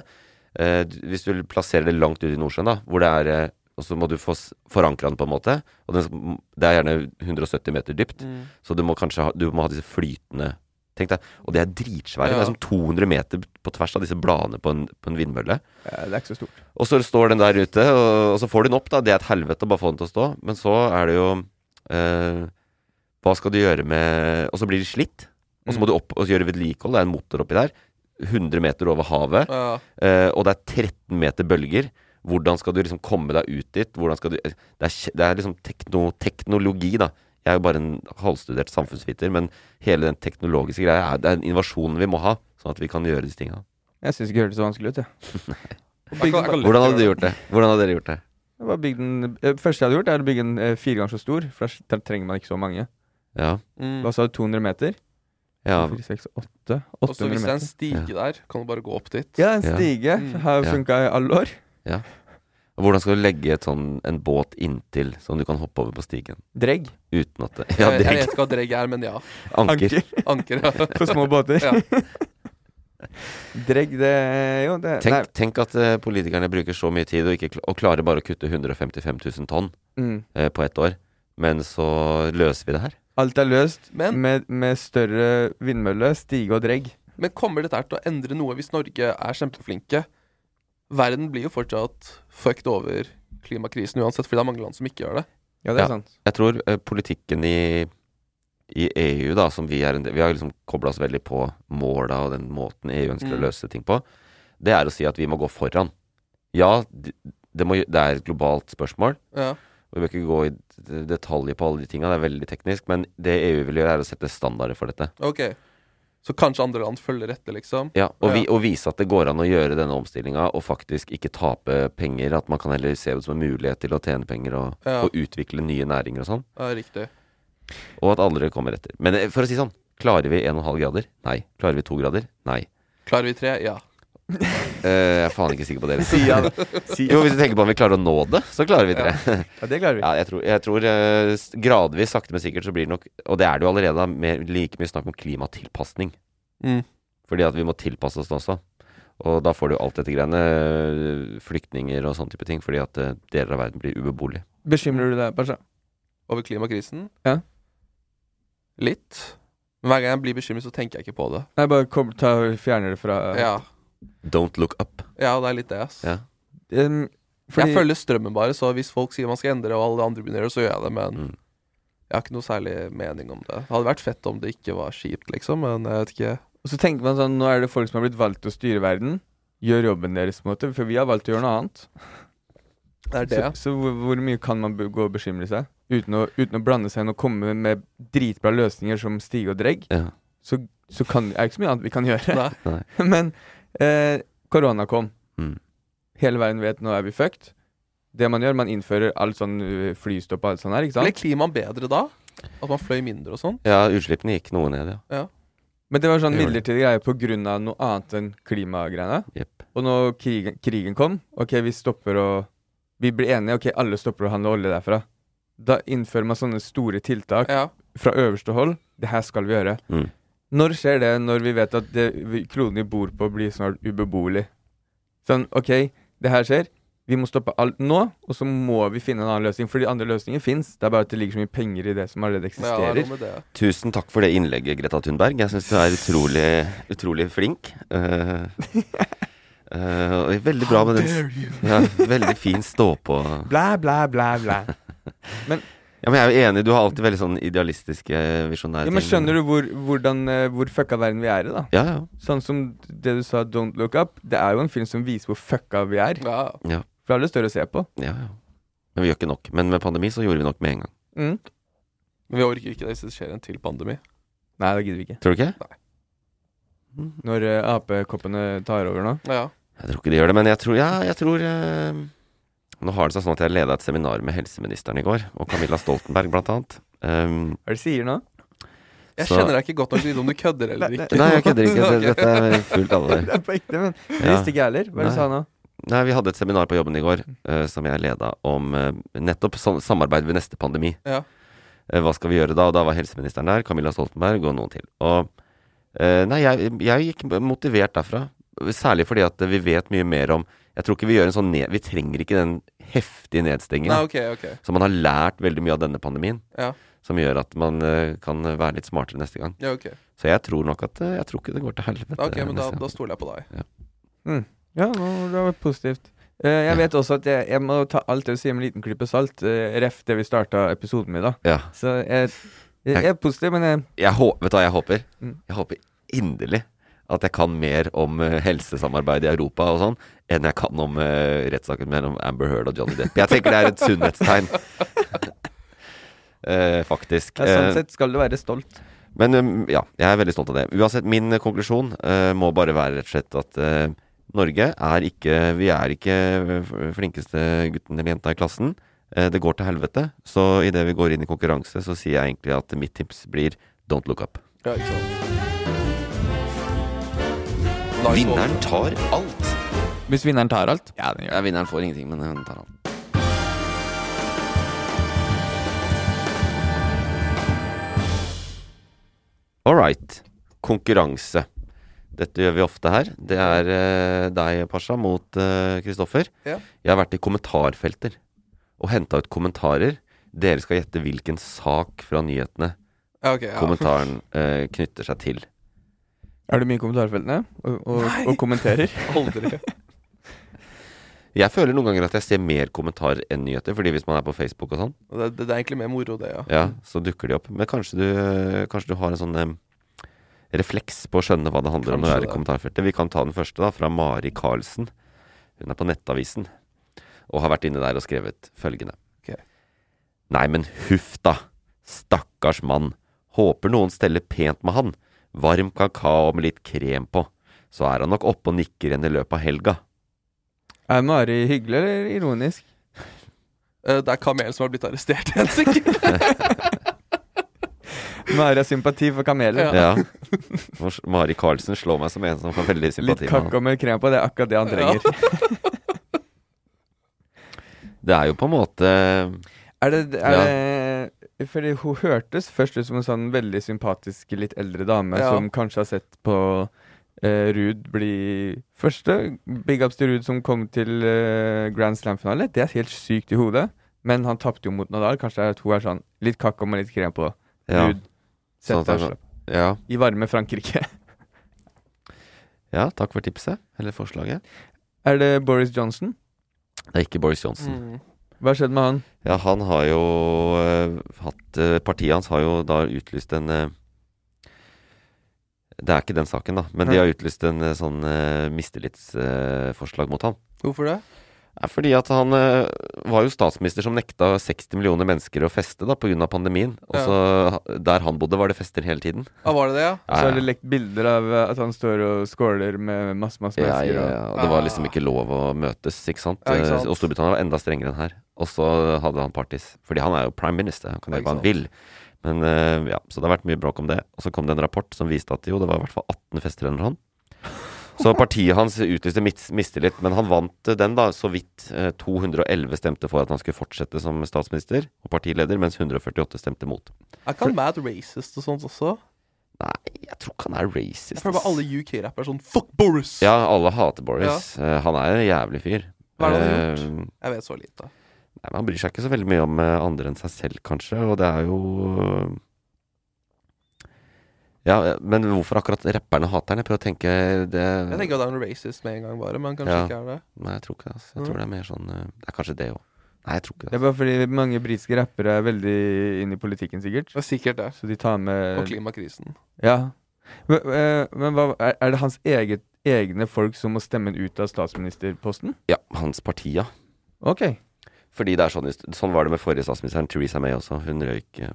Eh, du- hvis du plasserer det langt ut i Nordsjøen, da, hvor det er eh, Og så må du få s- forankre den, på en måte. Og den, det er gjerne 170 meter dypt,
Mm.
så du må kanskje ha, du må ha disse flytende Tenk deg, Og det er dritsvære.
Ja.
Det er som 200 meter på tvers av disse bladene på en, på en vindmølle.
Ja, det er ikke så stort.
Og så står den der ute, og, og så får du den opp, da. Det er et helvete å bare få den til å stå. Men så er det jo eh, Hva skal du gjøre med Og så blir de slitt. Og så må du opp og gjøre vedlikehold. Det er en motor oppi der. 100 meter over havet.
Ja.
eh, og det er 13 meter bølger. Hvordan skal du liksom komme deg ut dit? Hvordan skal du Det er, kje- det er liksom tekno, teknologi, da. Jeg er jo bare en halvstudert samfunnsviter, men hele den teknologiske greia er, det er en innovasjon vi må ha, sånn at vi kan gjøre disse tinga.
Jeg syns ikke det hørtes så vanskelig ut,
<laughs>
jeg.
Jeg kan- jeg kan lett
Hvordan hadde
gjøre
du gjort det? Hvordan hadde dere gjort det?
jeg bare bygde den, eh, første jeg hadde gjort, er å bygge den eh, fire ganger så stor, for da s- da trenger man ikke så mange.
Ja.
Mm.
Hva sa du, 200 meter?
ja.
4, 6, 8,
Og så
800
hvis det er en
meter.
stige der, kan du bare gå opp dit.
Ja, en
Ja.
stige
Mm.
har
Ja.
funka i alle år.
Og Hvordan skal du legge et sånn, en båt inntil, sånn du kan hoppe over på stigen?
Dregg.
Uten at det Ja,
Eh, jeg, jeg
dregg.
vet ikke hva dregg er, men ja.
Anker.
Anker
Anker. <laughs> Ja.
på små båter.
Ja.
<laughs> Dregg, det Jo, det
Tenk, tenk at eh, politikerne bruker så mye tid og, ikke, kl- og klarer bare å kutte 155 000 tonn
Nei. Mm.
eh, på ett år. Men så løser vi det her.
Alt er løst
Men-
med, med større vindmølle, stige og dregg.
Men kommer dette her til å endre noe hvis Norge er kjempeflinke? Verden blir jo fortsatt fucked over klimakrisen uansett, fordi det er mange land som ikke gjør det.
Ja, det er
Ja.
sant.
Jeg tror eh, politikken i, i EU, da, som vi er en del Vi har liksom kobla oss veldig på måla og den måten EU ønsker
Mm.
å løse ting på. Det er å si at vi må gå foran. Ja, det, det, må, det er et globalt spørsmål.
Ja.
Og Vi bør ikke gå i d- detaljer på alle de tinga, det er veldig teknisk. Men det EU vil gjøre, er å sette standarder for dette.
Ok. Så kanskje andre land følger etter, liksom.
Ja, og,
Ja.
Vi, og vise at det går an å gjøre denne omstillinga og faktisk ikke tape penger. At man kan heller se det som en mulighet til å tjene penger og,
Ja.
og utvikle nye næringer og sånn.
Ja, riktig.
Og at alle kommer etter. Men eh, for å si sånn, klarer vi 1,5 grader? Nei. Klarer vi 2 grader? Nei.
Klarer vi tre? Ja.
Eh, jeg er faen ikke sikker på dere.
Sia,
<laughs>
si-
Jo, hvis du tenker på om vi klarer å nå det, så klarer vi det.
Ja, det klarer vi.
<laughs> Ja, jeg tror, jeg tror eh, s- gradvis, sakte men sikkert, så blir det nok Og det er det jo allerede, da, mer, like mye snakk om klimatilpasning.
Mm.
Fordi at vi må tilpasse oss det også. Og da får du jo alt dette greiene. eh, Flyktninger og sånne type ting. Fordi at eh, deler av verden blir ubeboelig.
Bekymrer du deg, Pasha?
Over klimakrisen?
Ja.
Litt. Men Hver gang jeg blir bekymret, så tenker jeg ikke på det.
Nei, bare kom, ta, fjerner det fra
Ja,
Don't look up.
ja det er litt det, ass.
Ja.
Em, fordi,
Jeg følger strømmen bare, så hvis folk sier man skal endre, og alle de andre begynner, så gjør jeg det, men
Mm.
jeg har ikke noe særlig mening om det. Det hadde vært fett om det ikke var kjipt, liksom, men jeg vet ikke.
Og så tenker man sånn, nå er det folk som har blitt valgt til å styre verden. Gjør jobben deres, på en måte. For vi har valgt å gjøre noe annet.
Det er
Så,
det.
så hvor, hvor mye kan man bu- gå og bekymre seg? Uten å, uten å blande seg inn og komme med dritbra løsninger som Stige og Dregg,
Ja.
så, så kan, er det ikke så mye annet vi kan gjøre. <laughs>
Nei.
Men eh, korona kom.
Mm.
Hele verden vet nå er vi fucked. Det man gjør, man innfører alt sånn ø, flystopp og alt sånt her, ikke
Ble
sant?
klimaet bedre da? At man fløy mindre og sånn?
Ja, utslippene gikk noe ned, ja.
Men det var sånn
Det gjorde
midlertidig greie på grunn av noe annet enn klimagreiene.
Jepp.
Og når krigen, krigen kom, ok, vi stopper å Vi blir enige, ok, alle stopper å handle olje derfra. Da innfører man sånne store tiltak
Ja.
fra øverste hold. Det her skal vi gjøre.
Mm.
Når skjer det, når vi vet at det vi- kloden vi bor på, blir snart ubeboelig? Sånn, OK, det her skjer. Vi må stoppe alt nå, og så må vi finne en annen løsning. For de andre løsningene fins. Det er bare at det ligger så mye penger i det som allerede
Ja, det er
eksisterer.
noe med det.
Tusen takk for det innlegget, Greta Thunberg. Jeg syns du er utrolig, utrolig flink. Eh, <laughs> eh, og veldig bra med den ja, Veldig fin stå-på.
Blæ, blæ, blæ, blæ.
Ja, men jeg er jo enig, du har alltid veldig sånn idealistiske, visjonære
Ja, men skjønner du hvor, hvordan, eh, hvor fucka verden vi er i, da?
Ja, ja.
Sånn som det du sa, Don't Look Up. Det er jo en film som viser hvor fucka vi er.
Ja.
For alle større å se på.
ja, ja. Men vi gjør ikke nok. Men med pandemi så gjorde vi nok med en gang.
Mm.
Men vi orker ikke det hvis det skjer en til pandemi.
Nei, det gidder vi ikke.
Tror du ikke?
Nei.
Mm.
Når eh, apekoppene tar over nå.
Ja.
Jeg tror ikke de gjør det, men jeg tror Ja, jeg tror eh, Nå har det seg sånn at jeg leda et seminar med helseministeren i går, og Camilla Stoltenberg, blant annet. Um,
Hva er det de sier nå? <laughs>
Jeg
Så-
kjenner deg ikke godt nok til å vite om du kødder eller ikke.
nei, jeg kødder
<laughs>
ikke.
Ok.
Det- Dette er fullt alvor.
Det er på ekte, men det
Ja.
visste ikke jeg heller. Hva er det
Nei.
du sa nå?
Nei, vi hadde et seminar på jobben i går
Mm.
eh, som jeg leda om eh, nettopp sam samarbeid ved neste pandemi.
Ja.
Eh, hva skal vi gjøre da? Og da var helseministeren der, Camilla Stoltenberg og noen til. Og eh, nei, jeg, jeg gikk motivert derfra. Særlig fordi at vi vet mye mer om Jeg tror ikke vi gjør en sånn ned... Vi trenger ikke den heftige nedstengingen.
Nei, ok, ok.
Så man har lært veldig mye av denne pandemien.
Ja.
Som gjør at man eh, kan være litt smartere neste gang.
Ja, ok.
Så jeg tror nok at eh, Jeg tror ikke det går til helvete.
Ok, men da,
neste gang.
da stoler jeg på deg.
Ja, nå, det var positivt. Eh, jeg vet også at jeg, jeg må ta alt det du sier med en liten klype salt. eh, ref det vi starta episoden med i dag.
Ja.
Så jeg, jeg, jeg er positiv, men jeg,
jeg hå- Vet du hva jeg håper?
Mm.
Jeg håper inderlig at jeg kan mer om eh, helsesamarbeid i Europa og sånn, enn jeg kan om eh, rettssaken mellom Amber Heard og Johnny Depp. Jeg tenker det er et sunnhetstegn. <laughs> Eh, faktisk.
ja, sånn
Eh,
sett skal du være stolt.
men um, ja, jeg er veldig stolt av det. Uansett, min eh, konklusjon eh, må bare være rett og slett at eh, Norge er ikke Vi er ikke eh, f- flinkeste gutten eller jenta i klassen. Eh, det går til helvete. Så idet vi går inn i konkurranse, så sier jeg egentlig at mitt tips blir don't look up.
Ja, ikke sant. Nice
Vinneren tar alt.
Hvis vinneren tar alt. Ja, den
Ja, vinneren får ingenting, men hun tar alt. All right. Konkurranse. Dette gjør vi ofte her. Det er eh, deg, Pasha, mot eh, Kristoffer.
Ja.
Jeg har vært i kommentarfelter og henta ut kommentarer. Dere skal gjette hvilken sak fra nyhetene
Ja, ok, ja.
kommentaren eh, knytter seg til.
Er du mye i kommentarfeltene og, og, og kommenterer?
<laughs> Aldri.
Jeg føler noen ganger at jeg ser mer kommentarer enn nyheter, fordi hvis man er på Facebook og sånn,
Og Det, det, det er egentlig mer moro, det, ja.
Ja, så dukker de opp. Men kanskje du, kanskje du har en sånn em, refleks på å skjønne hva det handler om når du
Kanskje
er i
det.
kommentarfeltet. Vi kan ta den første, da, fra Mari Karlsen. Hun er på Nettavisen og har vært inne der og skrevet følgende.
Ok.
Nei, men huff da. Stakkars mann. Håper noen steller pent med han. Varm kakao med litt krem på. Så er han nok oppe og nikker igjen i løpet av helga.
<laughs> Er Mari hyggelig eller ironisk?
Eh, Det er kamelen som har blitt arrestert igjen, sikkert.
Mari har sympati for kameler.
Ja. Mors- Mari Karlsen slår meg som en som har veldig
Litt
sympati med han.
kakao med krem på, det er akkurat det han trenger.
Det er jo på en måte eh,
Er det, er det Fordi hun hørtes først ut som en sånn veldig sympatisk litt eldre dame
Ja.
som kanskje har sett på eh, Ruud bli første. Big ups til Ruud som kom til eh, Grand Slam-finale. Det er helt sykt i hodet. Men han tapte jo mot Nadal. Kanskje det er at hun er sånn litt kakao med litt krem på.
Ja.
Ruud. Sett
Sånn at
deg
han-
slapp.
ja.
I varme Frankrike. <laughs>
ja, takk for tipset. Eller forslaget.
er det Boris Johnson?
Det er ikke Boris Johnson.
Hva skjedde med han?
Mm. Ja, han har jo øh, hatt øh, Partiet hans har jo da utlyst en øh, Det er ikke den saken, da. Men de
Nei.
har utlyst en øh, sånn øh, mistillitsforslag mot han.
Hvorfor det?
Det er fordi at han øh, var jo statsminister som nekta 60 millioner mennesker å feste da pga. pandemien. Og så ha- der han bodde, var det fester hele tiden.
Ja, var det det, ja?
Så
Ja,
har det lekt bilder av eh, at han står og skåler med masse, masse
ja,
mennesker.
ja,
og-
ja. Det var liksom ikke lov å møtes, ikke sant?
Ah. Ja, ikke
Eh,
sant.
Og Storbritannia var enda strengere enn her. Og så hadde han parties. Fordi han er jo prime minister, han kan
Ja,
gjøre hva han
ikke
vil. Men eh, ja, Så det har vært mye bråk om det. Og så kom det en rapport som viste at jo, det var i hvert fall 18 fester under han. Så partiet hans utlyste mis- mistillit, men han vant eh, den, da, så vidt. Eh, 211 stemte for at han skulle fortsette som statsminister og partileder, mens 148 stemte mot.
Er ikke han mad racist og sånt også?
Nei, jeg tror ikke han er racist.
Jeg
ass.
føler bare alle UK-rappere er sånn Fuck Boris!
Ja, alle hater Boris. Eh, han er en jævlig fyr.
Hva er det han har gjort?
Eh,
Jeg vet så lite.
Nei, men Han bryr seg ikke så veldig mye om eh, andre enn seg selv, kanskje. Og det er jo eh, Ja, eh, men hvorfor akkurat rapperne hater han? Jeg prøver å tenke eh, det
Jeg tenker at han er racist med en gang, bare, men kanskje
Ja.
ikke er det.
Nei, jeg tror ikke det. Altså. Jeg tror det er mer sånn eh, Det er kanskje det òg. Nei, jeg tror ikke
Det
det.
er bare fordi mange britiske rappere er veldig inn i politikken, sikkert.
Det er sikkert det.
Så de tar
Og
Eh,
med
klimakrisen.
Ja. Men, eh, men hva, er er det hans eget, egne folk som må stemme han ut av statsministerposten?
Ja, hans parti, ja.
Ok.
Fordi det er sånn, sånn var det med forrige statsministeren, Theresa May også. Hun røyk eh,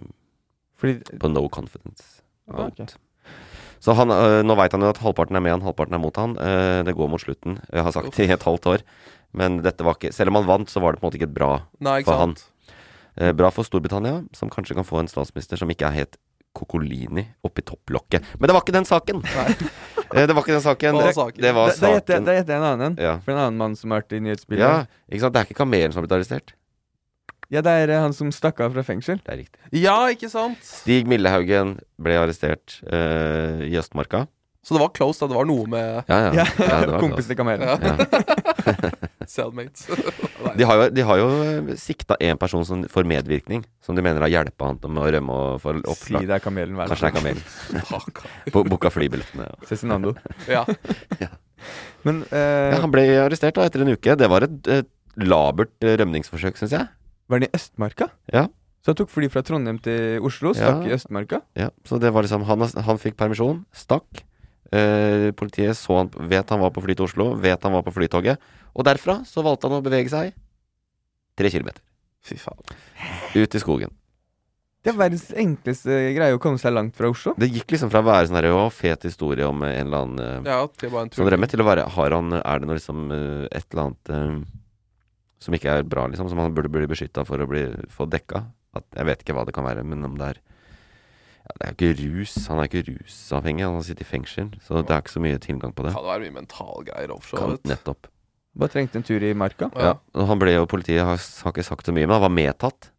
Fordi
på no confidence
Ah,
vote. Så han, øh, nå veit han jo at halvparten er med han, halvparten er mot han. Eh, det går mot slutten. Jeg har sagt det i et halvt år. Men dette var ikke Selv om han vant, så var det på en måte ikke et bra
Nei, ikke
For han.
sant?
Eh, Bra for Storbritannia, som kanskje kan få en statsminister som ikke er helt Kokolini oppi topplokket. Men det var ikke den saken! Eh, det var ikke den saken.
Hva var
Det,
saken?
det var
Da da gjetter jeg-
saken.
da gjetter jeg en annen en.
Ja.
For en annen mann som har vært i nyhetsbildet.
ja,
Ja.
ikke sant. Det er ikke kamelen som har blitt arrestert.
det er eh, han som stakk av fra fengsel.
Det er riktig.
Ja, ikke sant?
Stig Millehaugen ble arrestert eh, i Østmarka.
Så det var close, da. Det var noe med
Ja, ja. Ja,
Ja,
det altså. var
Kompisen til Kamelen.
klart. Ja. <laughs>
cellmates.
De har jo, de har jo sikta én person som, for medvirkning, som de mener har hjulpet han med å rømme og for
Si
opplag.
det er Kamelen hver
Kanskje det er kamelen.
Fuck.
Bo- Booka flybillettene. og- <laughs>
<laughs> Cezinando.
ja.
Men eh,
Ja, han ble arrestert da etter en uke. Det var et, et labert eh, rømningsforsøk, syns jeg.
var den i Østmarka?
Ja.
Så han tok fly fra Trondheim til Oslo, stakk
Ja.
i Østmarka?
Ja, så det var liksom Han, han fikk permisjon, stakk. Eh, politiet så han, vet han var på fly til Oslo, vet han var på flytoget. Og derfra så valgte han å bevege seg tre kilometer.
Fy faen.
Ut i skogen.
Det er verdens enkleste greie å komme seg langt fra Oslo.
Det gikk liksom fra å være sånn her, å, fet historie om eh, en eller annen eh,
Ja, det var en tur.
sånn rømme, til å være har han, Er det noe liksom eh, et eller annet eh, som ikke er bra, liksom, som han burde bli beskytta for å bli, få dekka? At, jeg vet ikke hva det kan være, men om det er ja, Det er jo ikke rus. Han er ikke rusavhengig, han har sittet i fengsel, så det er ikke så mye tilgang på det.
Kan det være mye mentalgreier offshore?
Kan,
vet du.
nettopp.
Bare trengte en tur i marka.
Ja. og Han ble jo Politiet har, har ikke sagt så mye, men han var medtatt.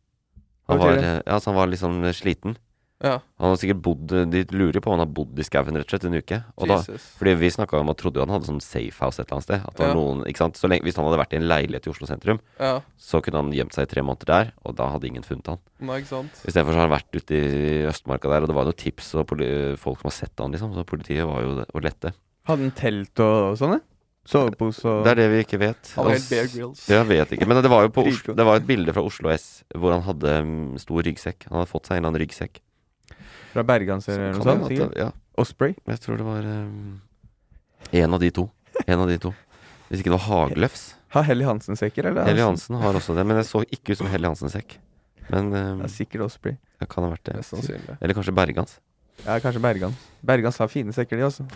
Han
Hva
var,
betyr
eh, ja, så han var liksom eh, sliten.
Ja.
Han har sikkert bodd eh, De lurer jo på om han har bodd i skauen rett og slett en uke. Og da,
Jesus.
fordi vi snakka om og trodde jo han hadde sånn safehouse et eller annet sted. At det var
Ja.
noen, ikke sant? Så lenge, hvis han hadde vært i en leilighet i Oslo sentrum,
Ja.
så kunne han gjemt seg i tre måneder der, og da hadde ingen funnet han.
Nei, ikke sant?
Istedenfor så har han vært ute i Østmarka der, og det var noen tips og poli, folk som har sett han, liksom. Så politiet var jo det- og lette.
Hadde en telt og sånne? Sovepose og
Det er det vi ikke vet.
Han var
Og
helt Bear Grylls.
Jeg vet ikke, men det var jo på Oslo,
Dritbra.
det var et bilde fra Oslo S hvor han hadde mm, stor ryggsekk. Han hadde fått seg en eller annen ryggsekk.
fra Berganser eller
Kan
noe sånt?
hende at
sikkert.
det- ja,
Osprey?
jeg tror det var mm, en av de to. En av de to. Hvis ikke det var Hagløfs.
Har Helly Hansen-sekker, eller?
Helly Hansen har også det, men det så ikke ut som Helly Hansen-sekk. Men mm,
Ja, sikkert Osprey.
det kan ha vært det.
Mest sannsynlig.
Eller kanskje Bergans.
Ja, kanskje Bergan. Bergans har fine sekker, de også.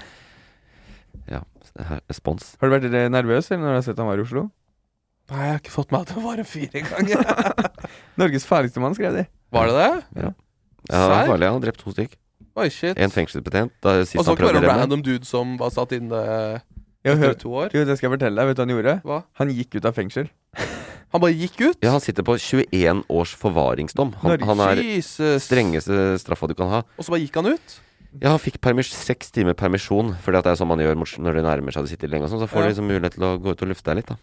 Ja, her- spons.
Har du vært eh, nervøs eller når du har sett han var i Oslo?
Nei, jeg har <laughs> ikke fått med at det var en fyr engang.
Norges farligste mann, skrev de.
var det det?
Ja. Ja, det var
Serr?
farlig. Han har drept to stykk.
Oi, shit.
En fengselsbetjent. Da sist
Og så
han
ikke
prøvde å
bare en
rømme.
random dude som var satt inne
Jeg
etter
hør,
to år.
jo, det skal jeg fortelle deg. Vet du hva han gjorde?
Hva?
Han gikk ut av fengsel.
Han bare gikk ut?
Ja, han sitter på 21 års forvaringsdom. Han,
Norge.
han er
Jesus.
strengeste straffa du kan ha.
Og så bare gikk han ut?
Ja, han fikk permis seks timer permisjon, Fordi at det er sånn man gjør mot- når det nærmer seg det sitter lenge og sånn. Så får
Ja.
du liksom mulighet til å gå ut og lufte deg litt, da.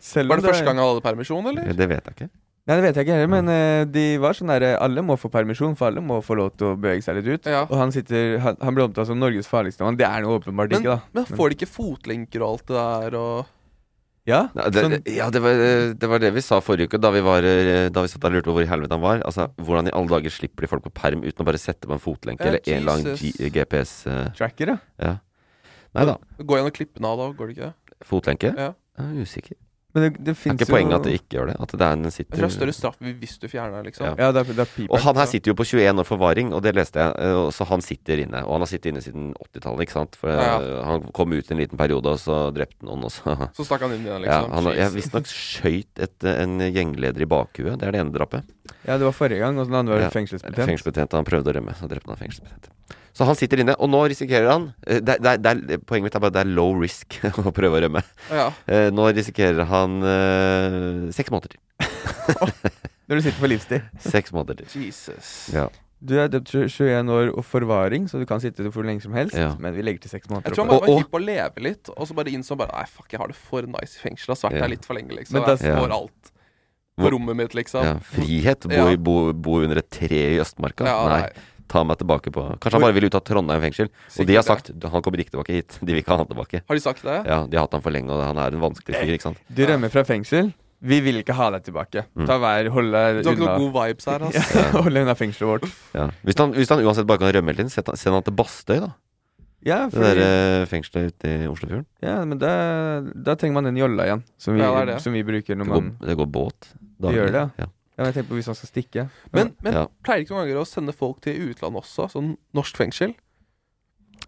Selv
Var
om
det første gang han hadde permisjon, eller?
Det vet jeg ikke.
Nei, det vet jeg ikke heller, men eh, de var sånn der eh, Alle må få permisjon, for alle må få lov til å bevege seg litt ut.
Ja.
Og han sitter Han, han ble omtalt som Norges farligste mann. Det er han jo åpenbart
Men,
ikke, da.
men får de ikke fotlenker og alt det der og
Ja,
Nei, det,
sånn,
ja, det var, eh, det var det vi sa forrige uke, da vi, var, eh, da vi satt der og lurte på hvor i helvete han var. Altså, Hvordan i alle dager slipper de folk på perm uten å bare sette på en fotlenke
Ja,
eller en lang
Jesus.
G- GPS eh,
tracker, ja.
Ja. Nei da.
Går gjennom klippene av da, går det ikke det?
Fotlenke?
Ja.
Jeg er usikker.
Men det, det
Er
fins
ikke poenget at det ikke gjør det? At det er en den
Jeg tror det er
sitter
større straff hvis du fjerner, liksom.
Ja.
Ja, det er, det er
Og
piperen,
han her
så-
sitter jo på 21 år forvaring, og det leste jeg. eh, og Så han sitter inne. Og han har sittet inne siden 80-tallet, ikke sant. For eh,
Ja,
han kom ut en liten periode, og så drepte han noen, og så
Så stakk han inn igjen,
<laughs> ja,
liksom.
han, har- Jeg
Jesus.
visstnok skjøt et, eh, en gjengleder i bakhuet. Det er det ene drapet.
Ja, det var forrige gang, og så den andre
Ja.
var ja. fengselsbetjent.
Fengselsbetjent. Han prøvde å rømme, så drepte han fengselsbetjent. Så han sitter inne, og nå risikerer han eh, det, er- det, er- det, er- Poenget mitt er bare at det er low risk <laughs> å prøve å rømme.
ja.
Eh, Nå risikerer han eh, seks måneder.
<laughs>
Når du sitter for livstid.
Seks måneder.
Jesus.
Ja.
Du er døpt til 21 år og forvaring, så du kan sitte for lenge som helst.
Ja.
Men vi legger til seks måneder.
Jeg tror han
oppå.
bare
Og-
var
og-
hypp på å leve litt, og så bare innså han bare Nei, fuck, jeg har det for nice i fengsel. Jeg har vært
Ja.
her litt for lenge, liksom.
Men da-
jeg får
Ja.
alt på rommet mitt, liksom.
Ja, frihet. Bo, i-
Ja.
bo, bo under et tre i Østmarka.
Ja,
nei. Ta meg tilbake på Kanskje han bare vil ut av Trondheim fengsel. Og de har
Sikkert
sagt han kommer ikke tilbake hit. De vil ikke ha han tilbake.
Har de sagt det?
Ja, De har hatt han for lenge, og han er en vanskelig fyr. ikke sant?
Du rømmer fra fengsel. Vi vil ikke ha deg tilbake. Ta vær, hold
Du
deg
har ikke
unna.
noen gode
<laughs>
vibes her, altså.
Hold deg unna fengselet vårt.
Ja. Hvis, han, hvis han uansett bare kan rømme hele tiden, send han- send han til Bastøy, da.
Ja,
Det der
fordi,
eh, fengselet ute i Oslofjorden.
ja men da, da trenger man den jolla igjen, som vi,
Ja, det er det.
som vi bruker når
Det
man
går, det går båt.
gjør det,
ja.
ja, men Jeg tenker på hvis man skal stikke.
Men, men
Ja.
pleier de ikke noen ganger å sende folk til utlandet også? Sånn norsk fengsel?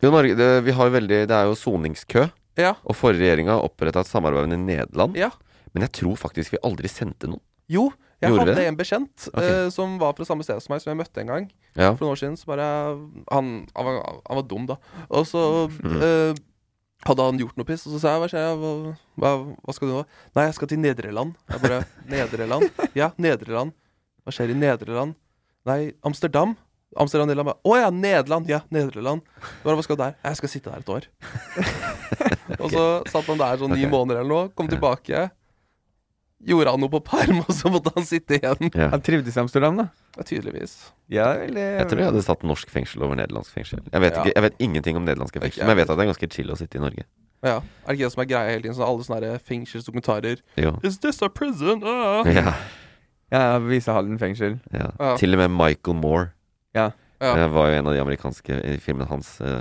Jo, Norge, det, vi har jo veldig, det er jo soningskø,
Ja.
og forrige regjeringa oppretta et samarbeid med Nederland.
ja.
Men jeg tror faktisk vi aldri sendte noen.
Jo, jeg
Gjorde
hadde
det?
en bekjent
Ok.
eh, som var fra samme sted som meg, som jeg møtte en gang
Ja.
for noen år siden. Så bare Han, han, var, han var dum, da. Og så eh, hadde han gjort noe piss, og så sa jeg hva skjer, hva, hva, hva skal du nå? Nei, jeg skal til Nederland. Jeg bare <laughs> Nederland? Ja, Nederland. Hva skjer i Nederland? Nei, Amsterdam. Amsterdam, Nederland. Bare, Å ja, Nederland! Ja, Nederland. Jeg Bare, hva skal du der? Jeg skal sitte der et år. Og så satt han der sånn ni
Ok.
måneder eller noe, kom tilbake. Gjorde han noe på perm, og <laughs> så måtte han sitte igjen.
Ja.
Han trivdes i Amsterdam, da.
Ja, tydeligvis.
Ja, eh, eller
Jeg tror jeg hadde satt norsk fengsel over nederlandsk fengsel. Jeg vet,
Ja.
ikke, jeg vet ingenting om nederlandske
Ikke
fengsel,
jeg
men jeg vet at det er ganske chill å sitte i Norge.
Ja, Er det ikke det som er greia hele tiden? Sånn alle sånne her fengselsdokumentarer.
Jo.
Is this a prison? Ah.
<laughs> Ja,
Ja, Vise Halden fengsel.
ja.
Ja.
Til og med Michael Moore.
Ja.
Det var jo en av de amerikanske eh, filmene hans eh,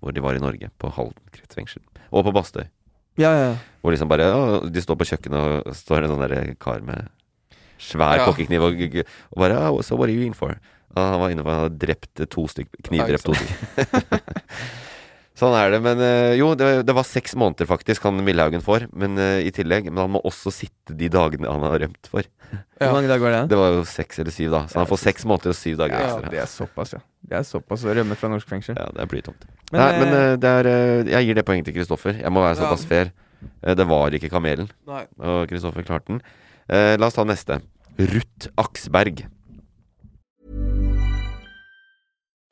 hvor de var i Norge, på Halden kretsfengsel. Og på Bastøy.
Ja, ja.
Hvor liksom bare ja, De står på kjøkkenet, og står en sånn der kar med svær
Ja.
kokkekniv og, og bare oh, So what are you in for? Og han var inne på og drept to stykk Knivdrept to stykker. <laughs> sånn er det. Men eh, jo, det, det var seks måneder faktisk han Millhaugen får, men eh, i tillegg. Men han må også sitte de dagene han har rømt for.
Hvor mange dager var det?
Det var jo seks eller syv, da. Så han får seks måneder og syv dager
Ja,
ekstra.
Det er såpass, ja. Det er såpass å rømme fra norsk fengsel.
altså. Ja, det er blytomt.
Men,
Nei,
eh,
men eh, det er, eh, jeg gir det poenget til Kristoffer. Jeg må være
Ja.
såpass fair. Eh, det var ikke Kamelen,
Nei.
og Kristoffer klarte den. Eh, la oss ta neste. Ruth Aksberg.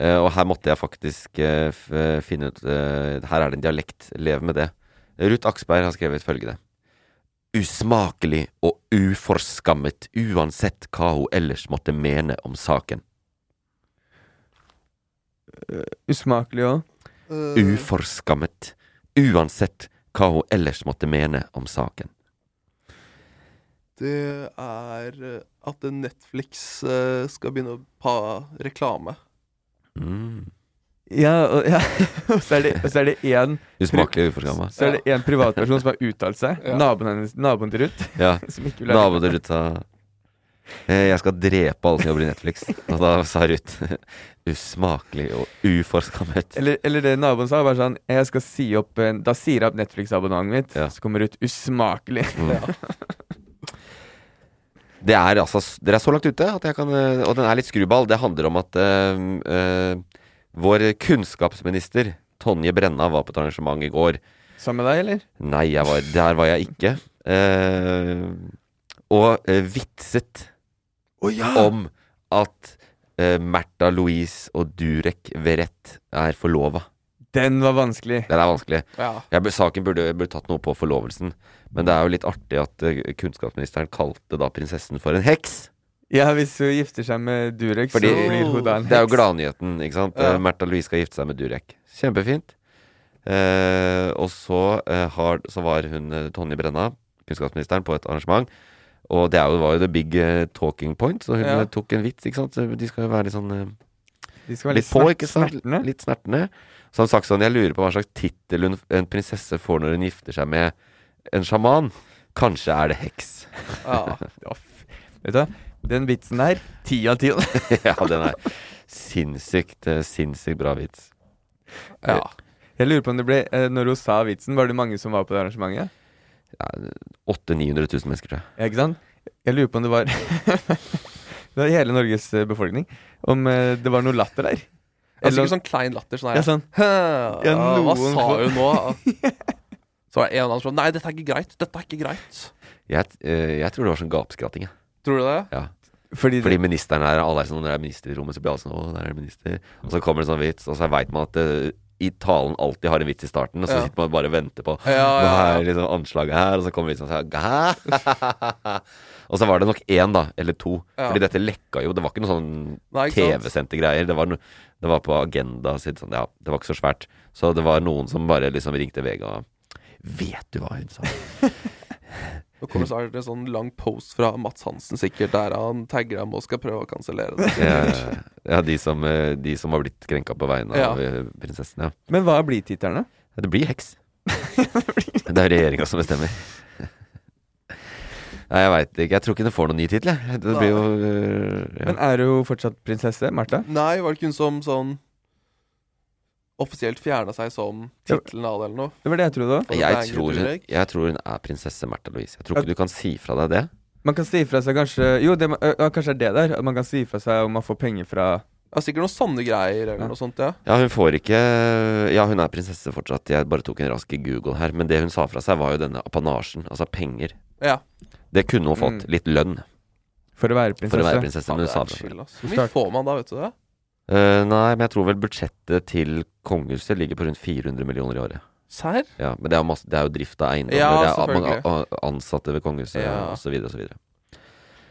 Eh, og her måtte jeg faktisk eh, f eh, finne ut eh, Her er det en dialekt. Lev med det. Ruth Aksberg har skrevet følgende. Usmakelig og uforskammet uansett hva hun ellers måtte mene om saken.
Usmakelig òg.
Eh,
Uforskammet. Uansett hva hun ellers måtte mene om saken.
Det er eh, at Netflix eh, skal begynne å ha reklame. er
<laughs> Mm.
Ja, og, ja. <laughs> og så er det- og så er det én
Usmakelig og uforskamma.
Så er det en privatperson som har uttalt seg.
Ja.
Naboen, hennes, naboen til Ruth. <laughs>
Ja.
Som ikke vil ha
Naboen til Ruth sa eh, Jeg skal drepe alle som jobber i Netflix. Og da sa Ruth <laughs> usmakelig og uforskammet.
Eller, eller det naboen sa, var sånn Jeg skal si opp eh, Da sier jeg opp Netflix-abonnementet mitt.
Ja.
Så kommer Ruth usmakelig. <laughs>
Det er altså Dere er så langt ute at jeg kan eh, Og den er litt skruball. Det handler om at eh, eh, vår kunnskapsminister Tonje Brenna var på et arrangement i går.
Sammen med deg, eller?
Nei, jeg var, der var jeg ikke. Eh, og eh, vitset om at eh, Märtha Louise og Durek Verrett er forlova.
Den var vanskelig.
Den er vanskelig.
Ja.
Jeg, bur- saken burde, burde tatt noe på forlovelsen. Men det er jo litt artig at eh, kunnskapsministeren kalte da prinsessen for en heks.
Ja, hvis hun gifter seg med Durek,
Fordi-
så blir hun da en heks.
Det er jo gladnyheten, ikke sant?
Ja.
Eh, Märtha Louise skal gifte seg med Durek. Kjempefint. Eh, og så, eh, har, så var hun eh, Tonje Brenna, kunnskapsministeren, på et arrangement. Og det er jo, var jo the big eh, talking point, så hun
Ja.
eh, tok en vits, ikke sant. Så De skal jo være litt sånn eh,
De skal være
litt, på,
snert-
ikke sant?
snertne.
Litt snertne. Så har hun sagt sånn Jeg lurer på hva slags tittel hun, en prinsesse får når hun gifter seg med en sjaman. Kanskje er det heks. <laughs>
Ja.
<laughs> Ja, f- Vet du hva? Den vitsen der, ti av
<laughs>
ti.
ja, den er sinnssykt, eh, sinnssykt bra vits.
ja.
Jeg lurer på om det ble eh, Når hun sa vitsen, var det mange som var på det arrangementet?
Ja, 800 000-900 000 mennesker, tror jeg.
Ja, ikke sant? Jeg lurer på om det var <laughs> Det var hele Norges eh, befolkning. Om eh, det var noe latter der.
Altså
Eller-
ikke sånn klein latter. Sånn her.
Ja, sånn.
«Hæ,
Ja,
ah, hva
noen
sa
får-
hun nå? <laughs> Så var det en annen som sa Nei, dette er ikke greit. Dette er ikke greit.
Jeg, eh, jeg tror det var sånn gapskratting. jeg.
Tror du det?
Ja.
Fordi, <laughs>
Fordi ministeren er alle er sånn Når det er minister i rommet, så blir alle sånn Å, der er det minister. Og så kommer det en sånn vits, og så veit man at eh, i talen alltid har en vits i starten, og så
Ja.
sitter man bare og venter på
Ja, ja,
Hva
ja.
er liksom anslaget her? Og så kommer vitsen og sier Hæ? <laughs> Og så var det nok én, da, eller to.
Ja.
Fordi dette lekka jo. Det var ikke noe sånn
Nei, ikke sant?
TV-sendte greier. Det var, no, det var på agenda sitt sånn, Ja, det var ikke så svært. Så det var noen som bare liksom ringte Vega Vet du hva hun sa?
Nå kommer det snart en sånn lang post fra Mats Hansen sikkert, der han tagger dem og skal prøve å kansellere det.
Ja, ja de, som, eh, de som har blitt krenka på vegne av
Ja.
eh, prinsessen, ja.
men hva blir <laughs> titterne?
Ja, Det blir heks. det er regjeringa som bestemmer. <laughs> Nei, jeg veit ikke. Jeg tror ikke det får noen ny tittel, jeg. Det blir jo eh, ja.
Men er hun fortsatt prinsesse, Märtha?
Nei, var det ikke hun som sånn offisielt fjerna seg som tittelen av det, eller noe?
Det var det jeg trodde òg.
For
jeg
Banger
tror, hun,
Durek?
jeg tror hun er prinsesse Märtha Louise. Jeg tror ikke du kan si fra deg det.
Man kan si ifra seg kanskje Jo, det, må- ø, ø, kanskje er det der. At man kan si ifra seg om man får penger fra
Ja, sikkert noen sanne greier eller
Ja.
noe sånt, ja.
Ja, hun får ikke Ja, hun er prinsesse fortsatt. Jeg bare tok en rask i Google her. Men det hun sa fra seg, var jo denne apanasjen. Altså penger.
Ja.
Det kunne hun fått.
Mm.
Litt lønn
For å være prinsesse.
for å være prinsesse. Men hun
det
sa
er
det.
chill, ass. Hvor mye får man da, vet du det?
Eh, nei, men jeg tror vel budsjettet til kongehuset ligger på rundt 400 millioner i året.
Serr?
Ja, men det er, jo masse, det er jo drift av eiendommer,
Ja,
det er mange
selvfølgelig.
a- a- ansatte ved kongehuset
Ja.
og så videre og så videre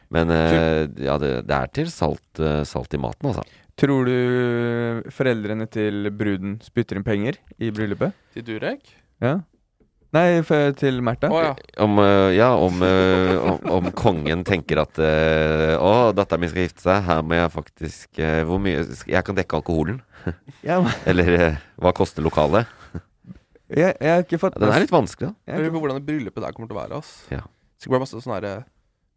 Men eh, ja, det, det er til salt, eh, salt i maten, altså.
Tror du foreldrene til bruden spytter inn penger i bryllupet?
Til Durek?
Ja. Nei, for, til Märtha.
Å, ja.
Om, eh, ja, om, eh, om, om kongen tenker at eh, Å, datteren min skal gifte seg. Her må jeg faktisk eh, Hvor mye sk- Jeg kan dekke alkoholen.
Ja, men-
<laughs> Eller eh, hva koster lokalet?
Jeg, jeg har ikke fått
Ja, den er litt vanskelig, da.
Jeg
Jeg har
lurer
ikke-
på hvordan det bryllupet der kommer til å være. ass
Ja.
Sikkert bare masse sånne her, eh,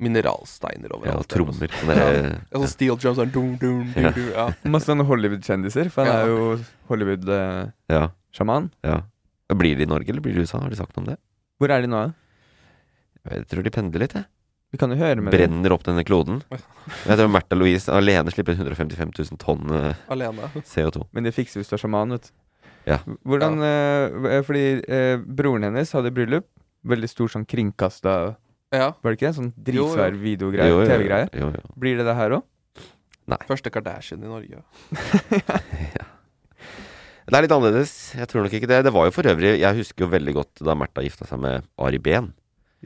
mineralsteiner
Ja,
overalt.
og trommer. Sånn
Ja.
derre-
Ja, sånn steel drums sånn, dum, dum, dum,
Ja.
dum, ja.
Masse sånne Hollywood-kjendiser, for han
Ja.
er jo Hollywood-sjaman.
ja, ja. Blir det i Norge, eller blir det i USA? Har de sagt noe om det?
Hvor er de nå? da?
Jeg tror de pendler litt, jeg.
Vi kan jo høre med dem.
Brenner opp denne kloden. Jeg tror Märtha Louise alene slipper ut 155 000 tonn eh,
Alene.
<laughs> CO2.
Men det fikser hvis du er sjaman, vet du.
Ja.
Hvordan eh, Fordi eh, broren hennes hadde bryllup. Veldig stor sånn kringkasta
Ja.
Var det ikke det? Sånn
Jo, jo.
dritsvær videogreie.
Jo, jo,
TV-greie.
jo, <laughs> jo.
Blir det det her òg?
Første Kardashian i Norge.
Det er litt annerledes. Jeg tror nok ikke det. Det var jo for øvrig Jeg husker jo veldig godt da Märtha gifta seg med Ari Behn.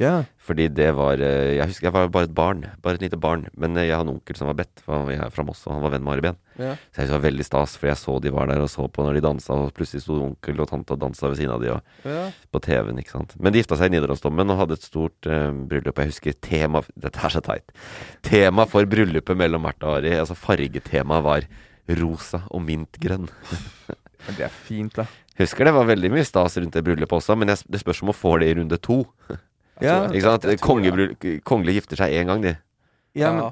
Ja.
Fordi det var eh, Jeg husker jeg var bare et barn. Bare et lite barn. Men eh, jeg hadde en onkel som var bedt, for han var fra Moss, og han var venn med Ari Behn.
Ja.
Så jeg synes det var veldig stas, for jeg så de var der og så på når de dansa, og plutselig sto onkel og tante og dansa ved siden av de og
Ja.
på TV-en, ikke sant. Men de gifta seg i Nidarosdomen og hadde et stort eh, bryllup. Jeg husker tema Dette er så teit. Tema for bryllupet mellom Märtha og Ari, altså fargetemaet var rosa og mintgrønn.
Men det er fint, da.
Husker det var veldig mye stas rundt det bryllupet også, men jeg, det spørs om hun får det i runde to.
Ja,
Ikke sant?
Jeg tror det.
Kongebryll- eh, Kongelige gifter seg én gang, de.
ja, men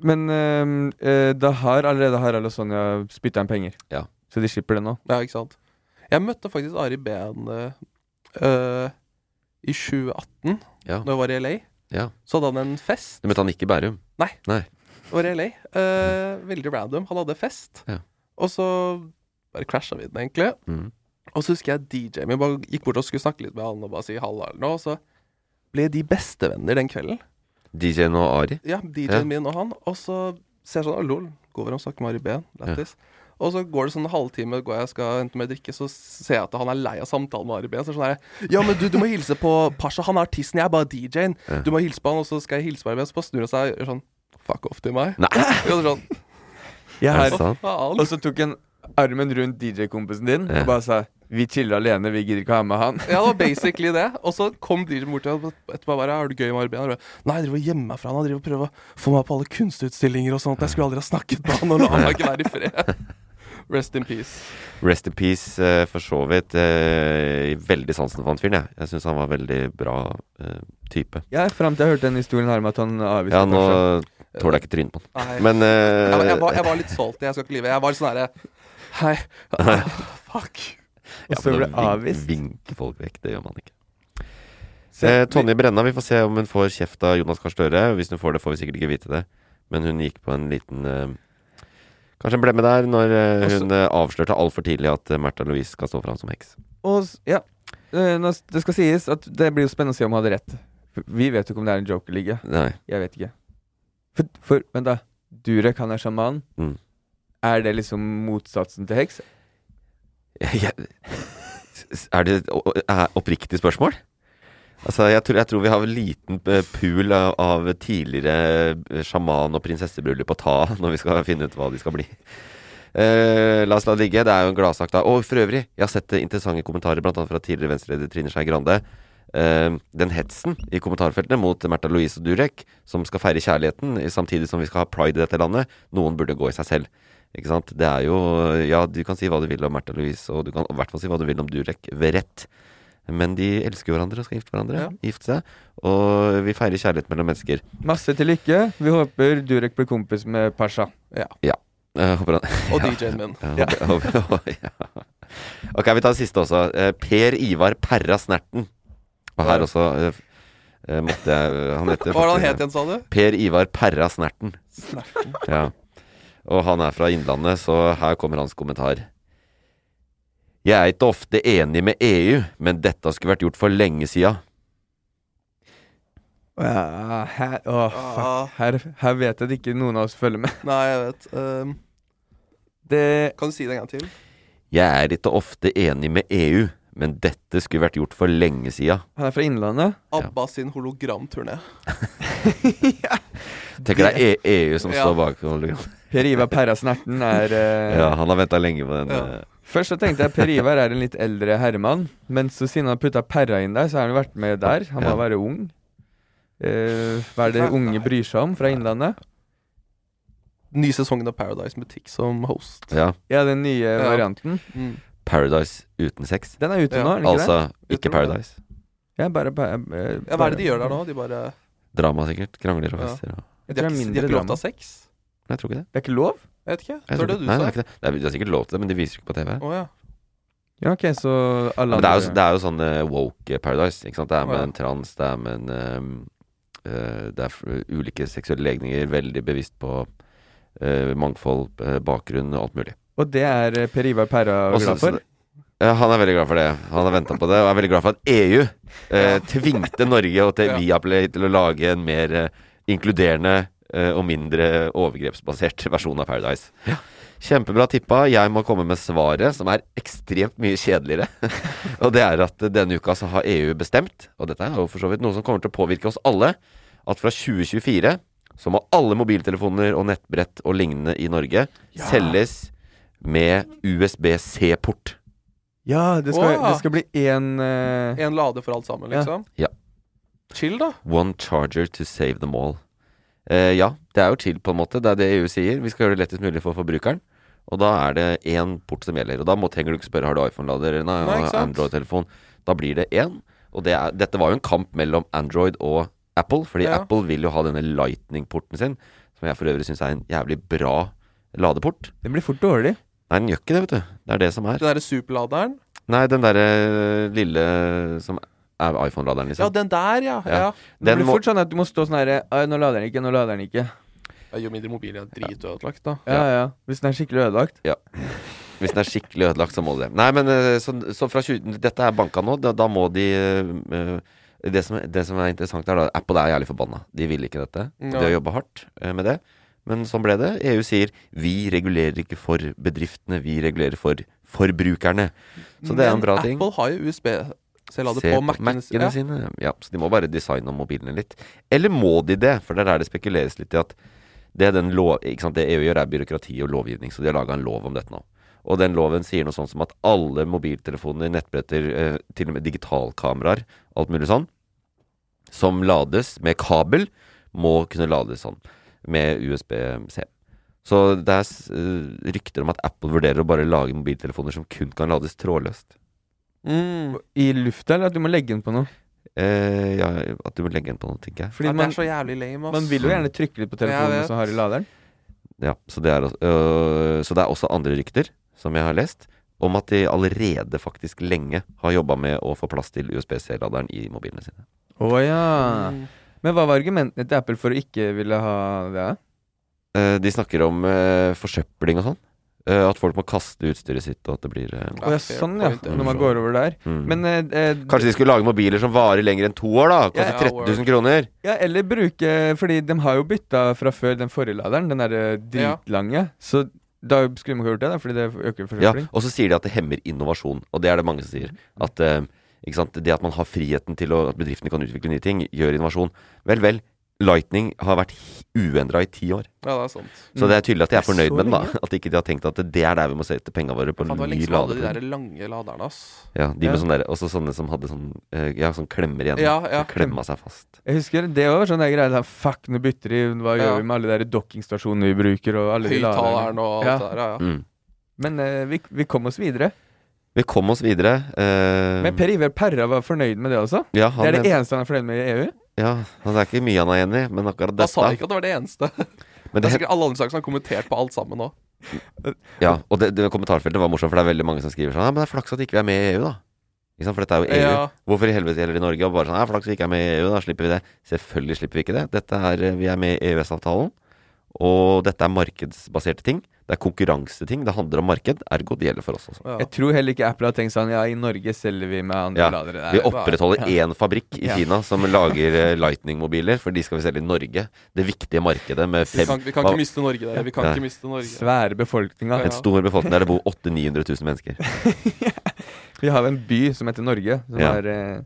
Men ehm, eh, da har allerede Harald og Sonja spytta inn penger.
Ja.
Så de slipper det nå.
Ja, ikke sant. Jeg møtte faktisk Ari Behn eh, eh, i 2018,
Ja.
Når jeg var i LA.
Ja.
Så hadde han en fest.
Du møtte han ikke i Bærum?
Nei.
Nei.
Jeg var i LA. eh, veldig random. Han hadde fest,
Ja.
og så bare crasha vi den, egentlig.
Mm.
Og så husker jeg DJ-en min bare gikk bort og skulle snakke litt med han og bare si halla eller noe, og så ble de bestevenner den kvelden.
DJ-en og Ari?
Ja,
Ja.
DJ-en min og han. Og så ser jeg sånn, «Å, lol, går over og snakker med Ari Behn. Lættis. Og så går det sånn en halvtime, går jeg og skal hente mer drikke, så ser jeg at han er lei av samtalen med Ari Behn. Så er det sånn her Ja, men du, du må hilse på Pasha. Han er artisten, jeg er bare DJ-en. Du må hilse på han, og så skal jeg hilse på Ari Behn. Så bare snur han seg og gjør sånn Fuck off til meg.
Nei,
<laughs> Og så sånn,
er
Jeg har,
det sant?
og
faen.
så tok han armen rundt DJ-kompisen din
Ja.
og bare sa 'Vi chiller alene, vi gidder ikke ha med han'.
Ja, det var basically det. Og så kom DJ-en bort til meg etterpå og bare Har du gøy med Ari Behn? Og jeg bare, Nei, jeg driver og gjemmer meg fra han. Han driver og prøver å få meg på alle kunstutstillinger og sånt. Jeg skulle aldri ha snakket med han, og la meg ikke være i fred. Rest in peace.
Rest in peace, eh, for så vidt. eh, veldig sansen for han fyren, jeg. Jeg syns han var veldig bra eh, type.
Ja, Fram til <laughs> jeg hørte den historien her om at han avviste
Ja, nå
Porsche.
tåler jeg ikke trynet på han.
Nei.
Men eh,
jeg, var- jeg, var, jeg var litt salty, jeg skal ikke lyve. Jeg var litt sånn herre Hei. ah, Fuck.
Og
ja,
så
men
ble
å vin-
avvist.
Vinke folk vekk, det gjør man ikke.
Så-
Eh, Tonje Brenna, vi får se om hun får kjeft av Jonas Gahr Støre. Hvis hun får det, får vi sikkert ikke vite det. Men hun gikk på en liten eh, Kanskje en blemme der når eh,
Og så-
hun eh, avslørte altfor tidlig at eh, Märtha Louise skal stå fram som heks.
Og s- ja. Eh, nå s- Det skal sies at det blir jo spennende å se om han hadde rett. For Vi vet jo ikke om det er en jokerliga.
Nei.
Jeg vet ikke. For, for vent, da. Durek, han er sjaman.
Mm.
Er det liksom motsatsen til heks?
Jeg, er det et o- er oppriktig spørsmål? Altså, jeg tror, jeg tror vi har en liten eh, pool av, av tidligere eh, sjaman- og prinsessebryllup å ta <laughs> når vi skal finne ut hva de skal bli. Eh, la oss la det ligge. Det er jo en gladsak, da. Og for øvrig, jeg har sett eh, interessante kommentarer, bl.a. fra tidligere Venstre-leder Trine Skei Grande. Eh, den hetsen i kommentarfeltene mot Märtha Louise og Durek, som skal feire kjærligheten eh, samtidig som vi skal ha pride i dette landet, noen burde gå i seg selv. Ikke sant? Det er jo Ja, du kan si hva du vil om Märtha Louise, og du kan i hvert fall si hva du vil om Durek ved rett. Men de elsker jo hverandre og skal gifte hverandre. Gifte seg. Og vi feirer kjærlighet mellom mennesker.
Masse til lykke. Vi håper Durek blir kompis med Pasha.
Ja.
Eh, håper <laughs> han
Og DJ-en min.
Ja, håper- håper- <laughs> ja. Ok, vi tar den siste også. Eh, Per Ivar Perra Snerten. Og her også eh, eh, måtte jeg Han heter
Hva var det han het igjen, sa du?
Per Ivar Perra Snerten. Ja. Og han er fra Innlandet, så her kommer hans kommentar. Jeg er ikke ofte enig med EU, men dette skulle vært gjort for lenge sia.
Ja, her, å,
Ah.
fuck. Her, her vet jeg at ikke noen av oss følger med.
Nei, jeg vet. Ehm,
Det,
kan du si det en gang til?
Jeg er ikke ofte enig med EU, men dette skulle vært gjort for lenge sia.
han er fra Innlandet.
Abba sin hologramturné.
Tenker det er E- EU som står bak hologram.
Per Ivar Perrasnerten er eh,
Ja, han har venta lenge på den.
Ja.
eh.
Først så tenkte jeg Per Ivar er en litt eldre herremann, men så siden han har putta Perra inn der, så har han jo vært med der. Han
Ja.
må være ung. Eh, hva er det unge bryr seg om fra Innlandet?
Ny sesongen av Paradise med Tix som host.
Ja.
Ja, den nye
Ja.
varianten.
Mm.
Paradise uten sex.
Den er ute
Ja.
nå, er den ikke
Altså
det?
ikke
Uten-
Paradise.
det? Ja, bare, bare, eh,
Ja, hva er det de gjør der nå? De bare
Drama, sikkert. Krangler og
Ja.
fester og
De har
Jeg tror det er
ikke, de
mindre
har ikke lov til
drama.
å ha sex?
Nei, jeg tror ikke det.
Det er ikke lov?
Jeg vet
Jeg
ikke.
tror
Det var det
ikke-
du
Nei, det
sa.
er ikke det. Det er, det er sikkert lov til det, men de viser ikke på TV.
Å ja.
Ja, ok, så alle
Men det er jo,
andre-
det er jo sånn eh, woke paradise. Ikke sant? Det er med
Ja.
en trans, det er med en eh, eh, Det er f- ulike seksuelle legninger, veldig bevisst på eh, mangfold, eh, bakgrunn og alt mulig.
Og det er eh, Per Ivar Perra
Og så-
glad for?
så- ja, han er veldig glad for det. Han har venta på det, og er veldig glad for at EU eh, tvingte Norge og til
Ja.
Viaplay til å lage en mer eh, inkluderende eh, og mindre overgrepsbasert <laughs> versjon av Paradise. Kjempebra tippa. Jeg må komme med svaret, som er ekstremt mye kjedeligere. <laughs> og det er at eh, denne uka så har EU bestemt, og dette er jo for så vidt noe som kommer til å påvirke oss alle, at fra 2024 så må alle mobiltelefoner og nettbrett og lignende i Norge selges med USB-C-port.
Ja, det skal,
Wow.
det skal bli én eh,
En lade for alt sammen,
Ja.
liksom?
Ja.
Chill, da.
One charger to save them all. Eh, ja, det er jo chill, på en måte. Det er det EU sier. Vi skal gjøre det lettest mulig for forbrukeren. Og da er det én port som gjelder. Og da må, trenger du ikke spørre har du iPhone-lader eller
Nei, ikke sant?
Android-telefon. Da blir det én. Og det er, dette var jo en kamp mellom Android og Apple, fordi
Ja.
Apple vil jo ha denne Lightning-porten sin, som jeg for øvrig syns er en jævlig bra ladeport.
Det blir fort dårlig.
Nei, den gjør ikke det, vet du. Det er det som er.
Den derre superladeren.
Nei, den derre lille som er iPhone-laderen,
Ja,
liksom.
den der, ja.
Ja.
ja.
Det
Den
blir
må,
fort sånn at du må stå sånn herre Nå lader den ikke, nå lader den ikke.
Ja, Jo mindre mobilen er dritødelagt, da.
Ja, ja. Hvis den er skikkelig ødelagt.
Hvis den er skikkelig ødelagt, så må det det. Nei, men eh, så, så fra 20, Dette er banka nå. Da, da må de eh, eh, det, som, det som er interessant, er da Apple er jævlig forbanna. De ville ikke dette. Og De har jobba hardt eh, med det. Men sånn ble det. EU sier 'vi regulerer ikke for bedriftene, vi regulerer for forbrukerne'. Så det er en
Men
bra ting.
Apple har jo USB-C-lader
Se
på Mac-ene
Mac-ene
sine.
sine. Ja, så de må bare designe om mobilene litt. Eller må de det? For der er det spekuleres litt i at det, den lov, ikke sant? det EU gjør, er byråkrati og lovgivning. Så de har laga en lov om dette nå. Og den loven sier noe sånt som at alle mobiltelefoner, nettbretter, eh, til og med digitalkameraer, alt mulig sånn, som lades med kabel, må kunne lades sånn med USB-C. Så det er s- eh, rykter om at Apple vurderer å bare lage mobiltelefoner som kun kan lades trådløst.
Mm.
I lufta, eller at du må legge den på noe?
Eh, ja, at du må legge inn på noe, tenker jeg.
Fordi
ja, det
man,
er så jævlig lame, ass.
man vil jo gjerne trykke litt på telefonen
Jeg
som har i
vet.
laderen.
Ja, så det, er, også- øh, så det er også andre rykter, som jeg har lest, om at de allerede faktisk lenge har jobba med å få plass til USB-C-laderen i mobilene sine.
Å ja.
Mm.
Men hva var argumentene til Apple for å ikke ville ha det?
Eh, de snakker om eh, forsøpling og sånn. Eh, at folk må kaste utstyret sitt, og at det blir eh,
Å ja,
fair
sånn ja.
point, det.
Når man går over der.
mm.
Men eh, eh,
Kanskje de skulle lage mobiler som varer lenger enn to år, da?
Ja,
Kanskje
ja,
13 000 kroner?
Ja, eller bruke Fordi de har jo bytta fra før den forrige laderen, den derre dritlange. Så da skulle man ikke gjort det, da, fordi det øker
Ja,
forsøpling.
og så sier de at det hemmer innovasjon, og det er det mange som sier.
Mm.
At, eh, ikke sant? Det at man har friheten til å, at bedriftene kan utvikle nye ting, gjør innovasjon. Vel, vel. Lightning har vært uendra i ti år.
Ja, det er sant.
Så det er tydelig at de er
Så
fornøyd med den. da
lenge.
<laughs> At ikke de har tenkt at det er der vi må sette penga våre på
Faen, det var
en ny
lenge siden alle de
lader.
der lange laderne, ass.
Ja, de med
Ja.
sånne der, også sånne som hadde sånn, eh, ja, sånn klemmer igjen.
Ja, ja.
Klemma seg fast.
Jeg husker det òg var sånn der greie da, Fuck, nå bytter de. Hva gjør
Ja.
vi med alle de der dockingstasjonene vi bruker, og alle de laderne?
Høyttaleren og alt
Ja.
det der, ja. ja.
Mm.
Men eh, vi, vi kom oss videre.
Vi kom oss videre. eh,
Men Per Iver Perra var fornøyd med det også?
ja, han,
det er det
mente-
eneste han er fornøyd med i E EU?
ja, han er ikke mye han er enig i, men akkurat
Da sa
dette
de ikke at det var det eneste.
men
Det er
det,
sikkert alle andre saker som har kommentert på alt sammen nå.
ja, Og det, det kommentarfeltet var morsomt, for det er veldig mange som skriver sånn Ja, men det er flaks at ikke vi er med i EU, da. Ikke sant? For dette er jo EU.
Ja.
Hvorfor i helvete gjelder det i Norge? Og bare sånn, ja, flaks vi ikke er med i EU, da slipper vi det. Selvfølgelig slipper vi ikke det. Dette er, eh, vi er med i EØS-avtalen, og dette er markedsbaserte ting. Det er konkurranseting. Det handler om marked, ergo det gjelder for oss også.
Ja.
Jeg tror heller ikke Apple har tenkt sånn Ja, i Norge selger vi med andre
Ja,
ladere.
Vi
Der.
opprettholder E én fabrikk i
Ja.
Kina
<laughs>
som lager eh, Lightning-mobiler, for de skal vi selge i Norge. Det viktige markedet med
Vi
fem
kan, vi kan
hva-
ikke miste Norge, dere. Vi kan
Nei.
ikke miste Norge.
Svære befolkninga.
Ja.
En stor befolkning der det bor 800 000-900 000 mennesker.
Vi har en by som heter Norge, som
Ja.
er eh,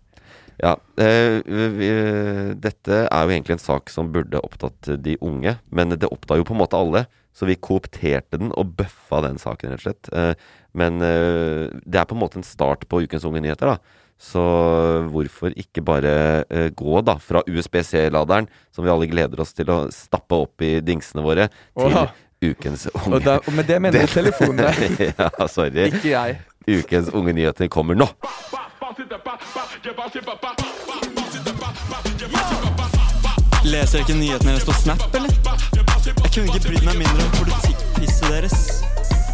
Ja. eh, vi- vi- Dette er jo egentlig en sak som burde opptatt de unge, men det opptar jo på en måte alle. Så vi koopterte den og bøffa den saken, rett og slett. Eh, Men eh, det er på en måte en start på Ukens unge nyheter, da. Så hvorfor ikke bare eh, gå da fra USB-C-laderen, som vi alle gleder oss til å stappe opp i dingsene våre, til
Åh.
Ukens unge
Og, da, og med det mener jeg
<laughs>
telefonen der.
ja, sorry.
<laughs> Ikke jeg.
Ukens unge nyheter kommer nå.
Leser jeg ikke nyhetene deres på Snap, eller? Jeg kunne ikke brydd meg mindre om politikkpisset deres.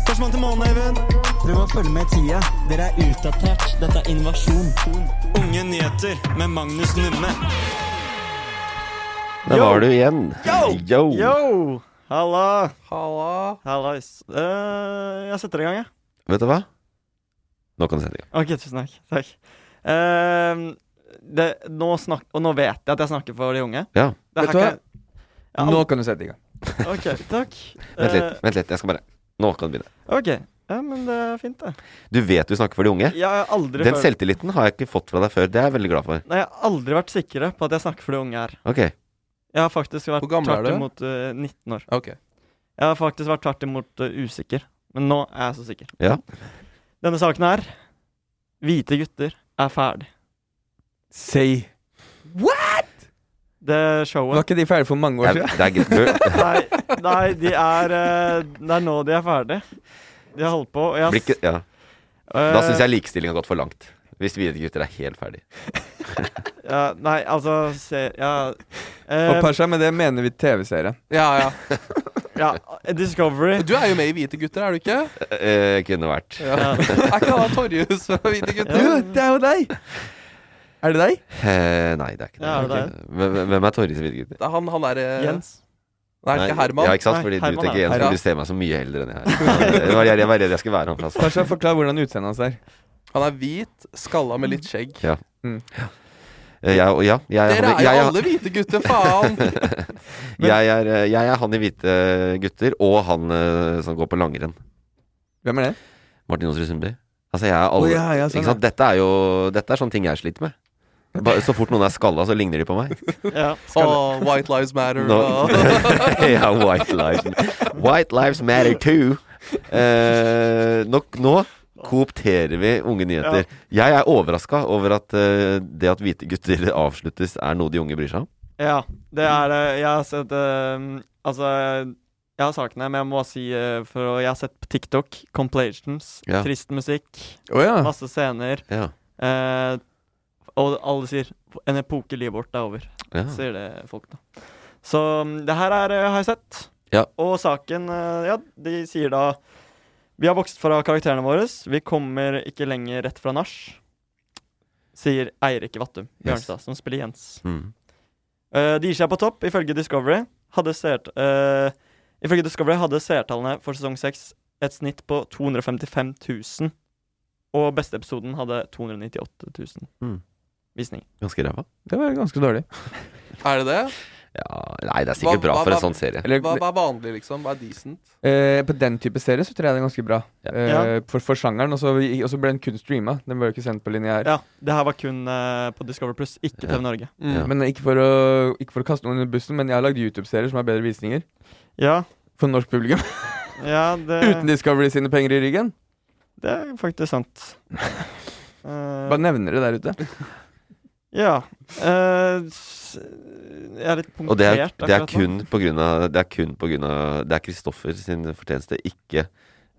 Førstemann til månen, Eivind. Prøv å følge med i tida. Dere er utdatert. Dette er invasjon. Unge nyheter med Magnus Numme.
Der
Yo.
var du igjen. Yo!
Yo! Halla!
Halla!
Hallais. Eh, jeg setter i gang, jeg.
Vet du hva? Nå kan du sette i gang.
Ok, tusen takk. takk. Eh, det, nå snak og nå vet jeg at jeg snakker for de unge.
Ja.
Det her
Vet du
kan-
hva?
Ja,
Nå kan du sette i gang.
<laughs>
Ok, takk.
Vent litt, vent litt, jeg skal bare Nå kan du begynne.
Eh, ok, ja, men det er fint, det.
Du vet du snakker for de unge.
Jeg har aldri
Den
følt-
selvtilliten har jeg ikke fått fra deg før. Det er jeg veldig glad for.
Nei, Jeg har aldri vært sikrere på at jeg snakker for de unge her.
Ok.
Jeg har faktisk vært
Hvor gammel er
tvert
du?
imot eh, 19 år.
Ok.
Jeg har faktisk vært tvert imot eh, usikker, men nå er jeg så sikker.
Ja.
Denne saken her Hvite gutter er ferdig.
Say
What?! Det showet
Var ikke de ferdige for mange år
Det
siden?
er- det er
<laughs>
greit.
Nei, nei de er eh, Det er nå de er ferdig. De har holdt på. Og jeg,
Blir ikke Ja. Da syns
Eh.
jeg likestilling har gått for langt. Hvis hvite gutter er helt ferdig.
ja, Nei, altså se, ja, eh,
Og Pasha, med det mener vi TV-serien.
Ja, ja.
ja, Discovery.
Du er jo med i Hvite gutter, er du ikke?
Eh, kunne vært.
Ja.
<laughs>
er ikke han Torjus fra Hvite gutter?
Du, <laughs> det er jo deg! Er det deg?
Eh, nei, det er ikke det.
Ja, er det
Ok. Hvem hvem er Torje i hvite gutter?
Det er han, han er eh,
Jens.
Nei, ikke Herman.
Ja, ikke sant?
Nei,
Fordi du
Herman
tenker
er-
Jens,
Herman.
men du ser meg så mye eldre enn jeg
<laughs>
er. Jeg var, jeg var redd jeg skulle være han altså. plassen.
Pasha, forklar hvordan utseendet hans er.
Han er hvit, skalla med litt skjegg.
Ja.
Mm.
Eh, Jeg, og ja, jeg,
Dere
hadde-
er jo
jeg,
alle hvite gutter,
<laughs>
faen!
jeg, er, eh, jeg er han i Hvite eh, gutter, og han eh, som går på langrenn.
Hvem er det?
Martin Aasrud Sundby. Altså, jeg er alle
Å, ja, ja, sånn,
ikke sant? Dette er jo Dette er sånne ting jeg sliter med. Bare, så fort noen er skalla, så ligner de på
<laughs>
meg.
Ja.
Og White Lives Matter
Nå-
og
<laughs> ja, white lives White lives matter too. Eh, nok nå koopterer vi unge nyheter. Jeg er overraska over at eh, det at hvite gutter avsluttes, er noe de unge bryr seg om.
ja, det er det. Jeg har sett eh, Altså, jeg har sakene, men jeg må bare si eh, For jeg har sett på TikTok Complations,
Ja.
trist musikk,
Å ja.
masse scener.
Ja,
eh, og alle sier 'En epoke i livet vårt er over'.
ja.
sier det folk, da. Så mm, det her er, eh, har jeg sett.
Ja.
Og saken eh, Ja, de sier da Vi har vokst fra karakterene våre. Vi kommer ikke lenger rett fra nach. Sier Eirik Vattum
Yes.
Bjørnstad, som spiller Jens.
Mm.
Eh, de gir seg på topp, ifølge Discovery. Hadde seert, eh, ifølge Discovery hadde seertallene for sesong 6 et snitt på 255 000. Og beste episoden hadde 298 000
Mm.
visninger.
Ganske ræva.
Det var ganske dårlig.
Er det det?
Ja, nei, det er sikkert
Hva-
bra
hva-
for en
hva-
sånn serie.
Eller,
Hva, hva er vanlig, liksom? Hva er decent?
eh, på den type serie så tror jeg det er ganske bra.
Ja.
Eh, for, for sjangeren. Og så og så ble den kun streama. Den ble jo ikke sendt på lineær.
Ja, det her var kun eh, på Discover Plus, ikke
Ja.
TV Norge.
Ja.
Men ikke for, å, ikke for å kaste noen under bussen, men jeg har lagd YouTube-serier som har bedre visninger.
Ja,
For norsk publikum.
<laughs>
<laughs>
ja det,
Uten Discovery sine penger i ryggen.
det er faktisk sant. Eh,
Bare nevner det der ute.
ja. eh, s- jeg er litt punktert
Og det er, det er
akkurat nå.
kun på grunn av Det er kun på grunn av Det er Kristoffer sin fortjeneste, ikke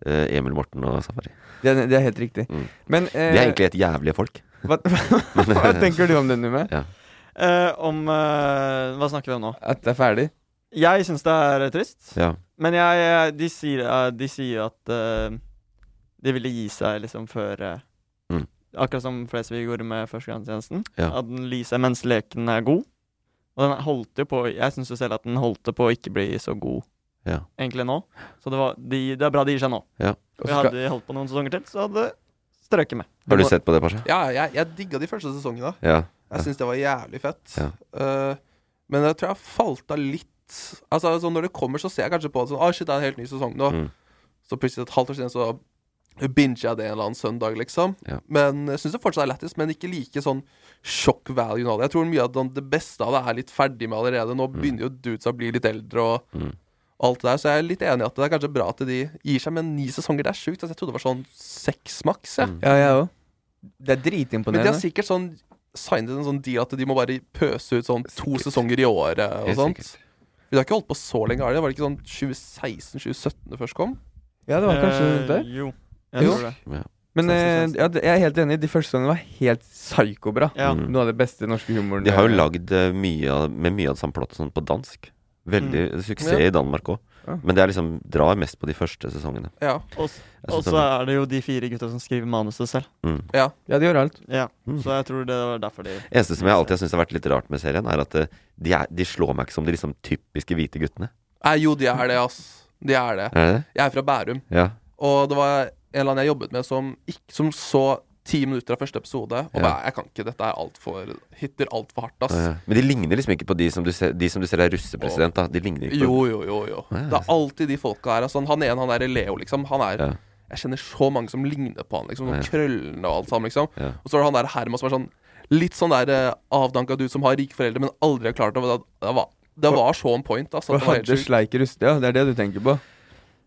eh, Emil Morten og Safari.
Det er, det er helt riktig.
Mm.
Men
De
eh,
er egentlig helt jævlige folk.
hva,
<laughs>
hva tenker du om det, Numme?
Eh, Om eh, Hva snakker vi om nå?
At det er ferdig?
Jeg syns det er trist,
eh, Ja.
men jeg De sier, eh, de sier at eh, de ville gi seg liksom før eh,
Mm.
Akkurat som Flesvig gjorde med førstegangstjenesten.
Ja.
At den lyser mens leken er god. Og den holdt jo på Jeg syns jo selv at den holdt på å ikke bli så god
Ja.
egentlig nå. Så det, var, de, det er bra de gir seg nå.
Og
Vi
så skal,
hadde holdt på noen sesonger til, så hadde strøket med.
Har du sett på det, Pasha?
Ja, jeg, jeg digga de første sesongene.
Ja.
Jeg syns det var jævlig fett.
Ja.
Eh, men jeg tror jeg falt av litt. Altså, sånn Når det kommer, så ser jeg kanskje på det sånn Å, shit, det er en helt ny sesong nå.
Mm.
Så plutselig et halvt år siden så binga det en eller annen søndag, liksom.
Ja.
Men jeg syns det fortsatt er lættis, men ikke like sånn sjokk value av det. Jeg tror mye av det- det beste av det er litt ferdig med allerede.
Mm.
Nå begynner jo dudes å bli litt eldre og alt det der, så jeg er litt enig i at det er kanskje bra at de gir seg, men ni sesonger, det er sjukt. Altså, jeg trodde det var sånn seks maks, jeg.
Mm.
Ja, jeg òg. Det er
Men de har
dritimponerende.
sikkert sånn signet en sånn deal at de må bare pøse ut sånn to sesonger i året og
Helt
sånt. Men de har ikke holdt på så lenge, har de? Var det ikke sånn 2016-2017 det først kom?
Ja, det var kanskje
Eh,
rundt der.
jo. Jeg tror det.
Ja.
Men eh, ja, det- jeg er helt enig. De første sesongene var helt psykobra.
Ja.
Noe av det beste norske humoren.
Mm. De har jo lagd eh, mye av, med mye av det samme plottet sånn på dansk. Veldig suksess
Mm. Ja.
i Danmark òg.
Ja.
Men det er liksom drar mest på de første sesongene.
Ja.
Og
Jeg
og
synes
så er det jo de fire gutta som skriver manuset selv.
Mm.
Ja.
Ja, de gjør alt.
Ja, Så jeg tror det var derfor de
Eneste som jeg alltid har syntes har vært litt rart med serien, er at eh, de, er, de slår meg ikke som de liksom typiske hvite guttene.
Nei, jo, de er det, ass. De er det.
Er det det?
Jeg er fra Bærum.
Ja.
Og det var en eller annen jeg jobbet med som, ikke, som så ti minutter av første episode og
Ja.
bare Jeg kan ikke, dette er alt for hitter altfor hardt, ass.
Ja, ja. Men de ligner liksom ikke på de som du ser, de som du ser er russepresident, da. De ligner ikke på
Jo, jo, jo, jo.
Ja.
Det er alltid de folka her. Altså, han ene, han der Leo, liksom. Han er
Ja.
Jeg kjenner så mange som ligner på han, liksom.
Ja.
Sånn krøllene og alt sammen, liksom.
Ja.
Og så er det han der Herman som er sånn litt sånn der eh, avdanka dude som har rike foreldre, men aldri har klart å det, det, var, det var så on point, ass. at
Og
det var helt
hadde
sjukt.
Sleik ruste, ja. Det er det du tenker på?